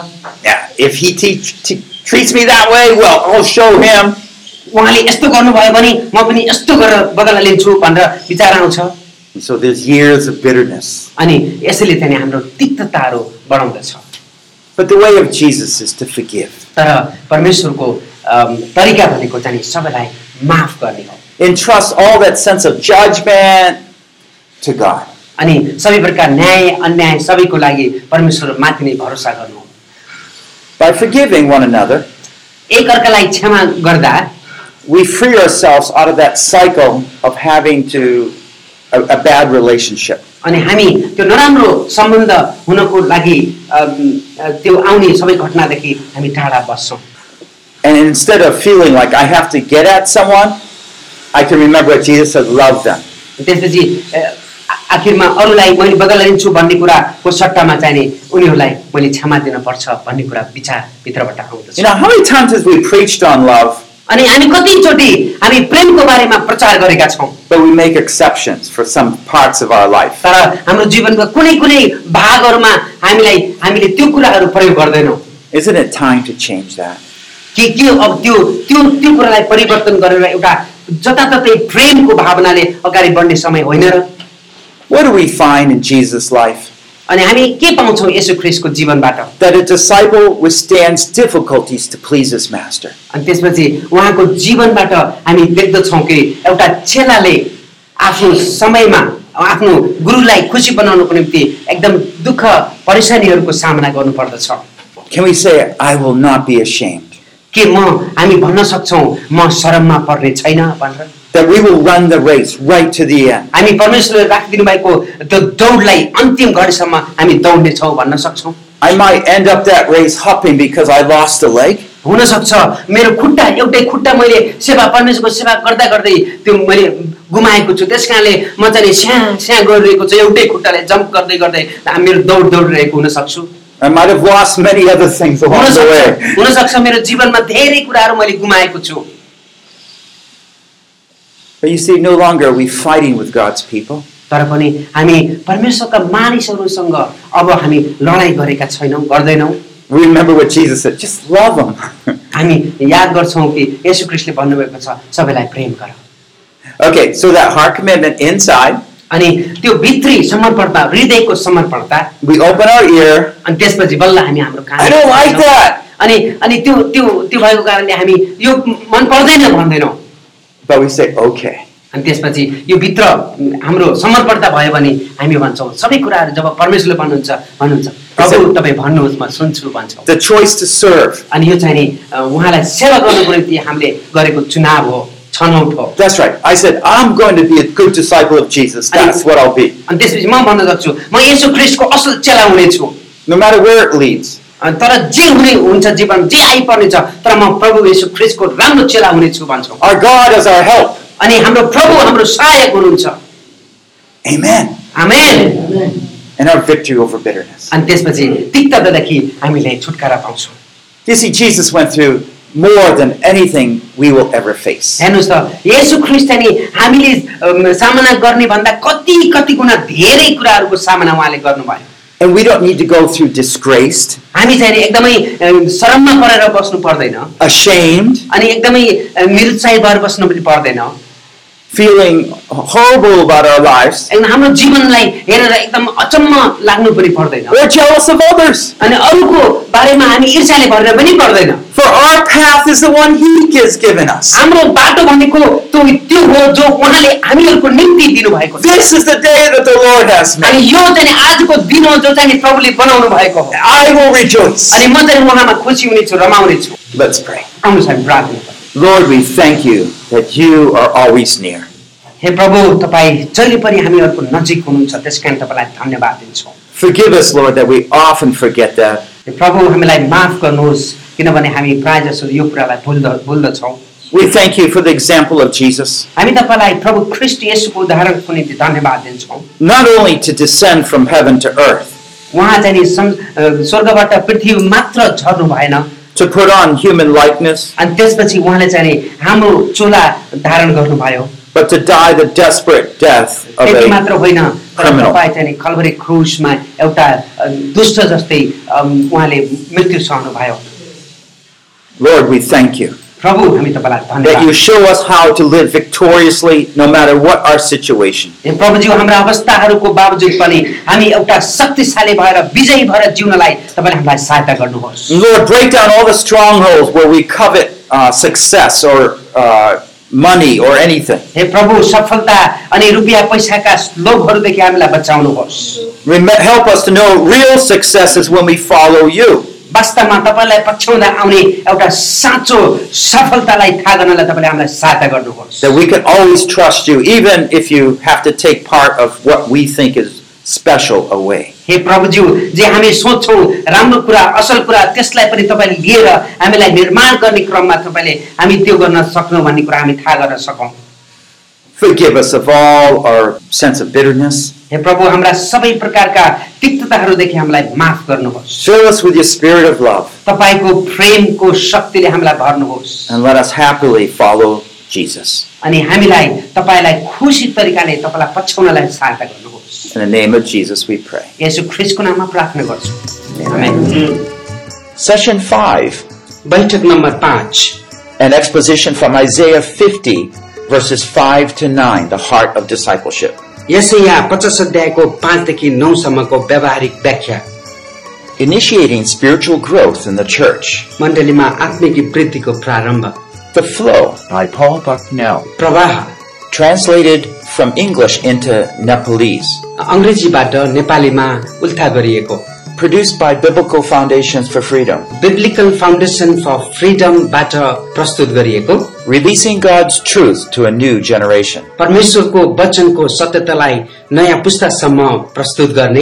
Yeah, if he teach, te- treats me that way, well, I'll show him.
उहाँले यस्तो गर्नुभयो भने म पनि यस्तो गरेर बदला लिन्छु भनेर विचार आउँछ
And so there's years of bitterness.
अनि यसैले चाहिँ नि हाम्रो तिक्तताहरू बढाउँदछ
But the way of Jesus is to forgive.
तर परमेश्वरको अम, तरिका भनेको चाहिँ नि सबैलाई माफ गर्ने हो
Entrust all that sense of judgment to God.
अनि सबै प्रकार न्याय अन्याय सबैको लागि परमेश्वर माथि नै भरोसा गर्नु
By forgiving one another,
एकअर्कालाई क्षमा गर्दा
we free ourselves out of that cycle of having to a, a bad relationship.
अनि हामी त्यो नराम्रो सम्बन्ध हुनको लागि अम, अ, त्यो आउने सबै घटनादेखि हामी टाढा बस्छौँ
And instead of feeling like I have to get at someone, I can remember what Jesus said, love them.
त्यसपछि अ, आ- आखिरमा अरूलाई मैले बदलिन्छु भन्ने कुराको सट्टामा चाहिने उनीहरूलाई मैले क्षमा दिनुपर्छ भन्ने कुरा विचार भित्रबाट आउँदछ
You know, how many times have we preached on love,
अनि हामी कतिचोटि हामी प्रेमको बारेमा प्रचार गरेका छौँ
but we make exceptions for some parts of our life?
तर हाम्रो जीवनका कुनै कुनै भागहरूमा हामीलाई हामीले त्यो कुराहरू प्रयोग गर्दैनौँ
Isn't it time to change that?
के के अब त्यो त्यो त्यो कुरालाई परिवर्तन गरेर एउटा जताततै प्रेमको भावनाले अगाडि बढ्ने समय होइन र
What do we find in Jesus' life?
अनि हामी के पाउँछौँ यसो ख्रिसको जीवनबाट
That a disciple withstands difficulties to please his master.
अनि त्यसपछि उहाँको जीवनबाट हामी देख्दछौँ कि एउटा चेलाले आफ्नो समयमा आफ्नो गुरुलाई खुसी बनाउनको निम्ति एकदम दुःख परिसानीहरूको सामना गर्नुपर्दछ
Can we say, I will not be ashamed?
के म हामी भन्न सक्छौँ म शरममा पर्ने छैन भनेर
That we will run the race right to the end.
हामी परमेश्वरले राखिदिनु भएको त्यो दौडलाई अन्तिम घडीसम्म हामी दौड्नेछौँ भन्न सक्छौँ
I might end up that race hopping because I lost a leg,
हुनसक्छ मेरो खुट्टा एउटै खुट्टा मैले सेवा परमेश्वरको सेवा गर्दा गर्दै त्यो मैले गुमाएको छु त्यस कारणले म चाहिँ नि स्या स्या गरिरहेको छु एउटै खुट्टाले जम्प गर्दै गर्दै आ- मेरो दौड दौडिरहेको हुनसक्छु
I might have lost many other things along the
हुनसक्छ
way.
हुनसक्छ मेरो जीवनमा धेरै कुराहरू मैले गुमाएको छु
But you see, no longer are we fighting with God's people.
तर पनि हामी परमेश्वरका मानिसहरूसँग अब हामी लडाइँ गरेका छैनौँ गर्दैनौँ
We remember what Jesus said just love them.
हामी याद गर्छौँ कि यसु क्रिस्टले भन्नुभएको छ सबैलाई प्रेम गर
okay, so that heart commitment inside,
अनि त्यो भित्री समर्पणता हृदयको समर्पणता
we open our ear.
अनि त्यसपछि बल्ल हामी हाम्रो काम
I don't like that!
अनि अनि त्यो त्यो त्यो भएको कारणले हामी यो मन पर्दैन भन्दैनौँ
But we say, okay.
अनि त्यसपछि यो भित्र हाम्रो समर्पणता भयो भने हामी भन्छौँ सबै कुराहरू जब परमेश्वरले भन्नुहुन्छ भन्नुहुन्छ प्रभु तपाईँ भन्नुहोस् म सुन्छु भन्छौँ
The choice to serve.
अनि यो चाहिँ नि अ, उहाँलाई सेवा गर्नुको निम्ति हामीले गरेको चुनाव हो छनौट हो
That's right. I said, I'm going to be a good disciple of Jesus. That's what I'll be.
अनि त्यसपछि म भन्न सक्छु म यसो ख्रिस्टको असल चेला हुनेछु
No matter where it leads.
अनि तर जे हुने हुन्छ जीवन जे आइपर्नेछ तर म प्रभु यसो ख्रिस्टको राम्रो चेला हुनेछु भन्छौँ
Our God is our help.
अनि हाम्रो प्रभु हाम्रो सहायक हुनुहुन्छ
Amen.
Amen
And our victory over bitterness.
अनि त्यसपछि तिक्ततादेखि हामीले छुटकारा पाउँछौँ
You see, Jesus went through more than anything we will ever face.
हेर्नुहोस् त यसु ख्रिस्ट नि हामीले अम, सामना गर्ने भन्दा कति कति गुणा धेरै कुराहरूको सामना उहाँले गर्नुभयो
And we don't need to go through disgraced,
हामी चाहिँ नि एकदमै अम, शरममा परेर बस्नु पर्दैन
ashamed,
अनि एकदमै अम, निरुत्साहित भएर बस्नु पनि पर्दैन
feeling horrible about our lives,
एकदम हाम्रो जीवनलाई हेरेर एकदम अचम्म लाग्नु पनि पर्दैन
or jealous of others.
अनि अरूको बारेमा हामी ईर्ष्याले भरेर पनि पर्दैन
For our path is the one He has given us.
हाम्रो बाटो भनेको त्यो त्यो हो जो उहाँले हामीहरूको निम्ति दिनुभएको छ
This is the day that the Lord has
अनि
made.
यो चाहिँ आजको दिन हो जो चाहिँ प्रभुले बनाउनु भएको हो
I will rejoice.
अनि म चाहिँ उहाँमा खुसी हुनेछु रमाउनेछु
Let's pray.
आउनुहोस् हामी प्रार्थना गरौँ।
Lord, we thank you that you are always near.
हे प्रभु तपाईँ जहिले पनि हामीहरूको नजिक हुनुहुन्छ त्यस कारण तपाईँलाई धन्यवाद दिन्छौँ
Forgive us, Lord, that we often forget that.
हे प्रभु हामीलाई माफ गर्नुहोस् किनभने हामी प्रायः जसो यो कुरालाई भुल्द भुल्दछौँ
We thank you for the example of Jesus,
हामी तपाईँलाई प्रभु ख्रिस्ट यसुको उदाहरणको निम्ति धन्यवाद दिन्छौँ
not only to descend from heaven to earth,
उहाँ चाहिँ नि सं- अ, स्वर्गबाट पृथ्वी मात्र झर्नु भएन
to put on human likeness,
अनि त्यसपछि उहाँले चाहिँ नि हाम्रो चोला धारण गर्नुभयो
but to die the desperate death of
त्यति
a
मात्र होइन तर
criminal.
तपाईँ चाहिँ नि खलबरी क्रुसमा एउटा अ, दुष्ट जस्तै अम, उहाँले मृत्यु सहनुभयो
Lord, we thank you
प्रभु हामी तपाईँलाई
that you
धन्यवाद
show us how to live victoriously no matter what our situation.
हे प्रभुज्यू हाम्रा अवस्थाहरूको बावजुद पनि हामी एउटा शक्तिशाली भएर विजयी भएर जिउनलाई तपाईँले हामीलाई सहायता
Mm।
गर्नुहोस्
And Lord, break down all the strongholds where we covet uh, success or uh, money or anything.
हे प्रभु सफलता अनि रुपियाँ पैसाका लोभहरूदेखि हामीलाई बचाउनुहोस्
Rem- help us to know real success is when we follow you.
वास्तवमा तपाईँलाई पछ्याउँदा आउने एउटा साँचो सफलतालाई थाहा गर्नलाई तपाईँले हामीलाई सहायता गर्नुहोस्
That we can always trust you, even if you have to take part of what we think is special away.
हे प्रभुज्यू जे हामी सोध्छौँ राम्रो कुरा असल कुरा त्यसलाई पनि तपाईँले लिएर हामीलाई निर्माण गर्ने क्रममा तपाईँले हामी त्यो गर्न सक्नु भन्ने कुरा हामी थाहा गर्न सकौँ
Forgive us of all our sense of bitterness.
हे प्रभु हाम्रा सबै प्रकारका तिक्तताहरूदेखि हामीलाई माफ गर्नुहोस्
Fill us with your spirit of love
तपाईँको प्रेमको शक्तिले हामीलाई भर्नुहोस्
and let us happily follow Jesus.
अनि हामीलाई तपाईँलाई खुसी तरिकाले तपाईँलाई पछ्याउनलाई सहायता गर्नुहोस्
In the name of Jesus, we pray.
यसो ख्रिसको नाममा प्रार्थना गर्छु आमेन।
Session 5
बैठक नम्बर पाँच
An exposition from Isaiah 50, verses 5 to 9, the heart of discipleship.
यसै यहाँ पचास अध्यायको पाँचदेखि नौसम्मको व्यावहारिक व्याख्या
Initiating spiritual growth in the church.
मण्डलीमा आत्मिक वृद्धिको प्रारम्भ
The Flow by Paul Bucknell.
प्रवाह
Translated from English into Nepalese.
अङ्ग्रेजीबाट नेपालीमा उल्था गरिएको
Produced by Biblical Foundations for Freedom.
Biblical Foundation for फ्रिडमबाट प्रस्तुत गरिएको
Releasing God's truth to a new generation.
परमेश्वरको वचनको सत्यतालाई नयाँ पुस्तासम्म प्रस्तुत गर्ने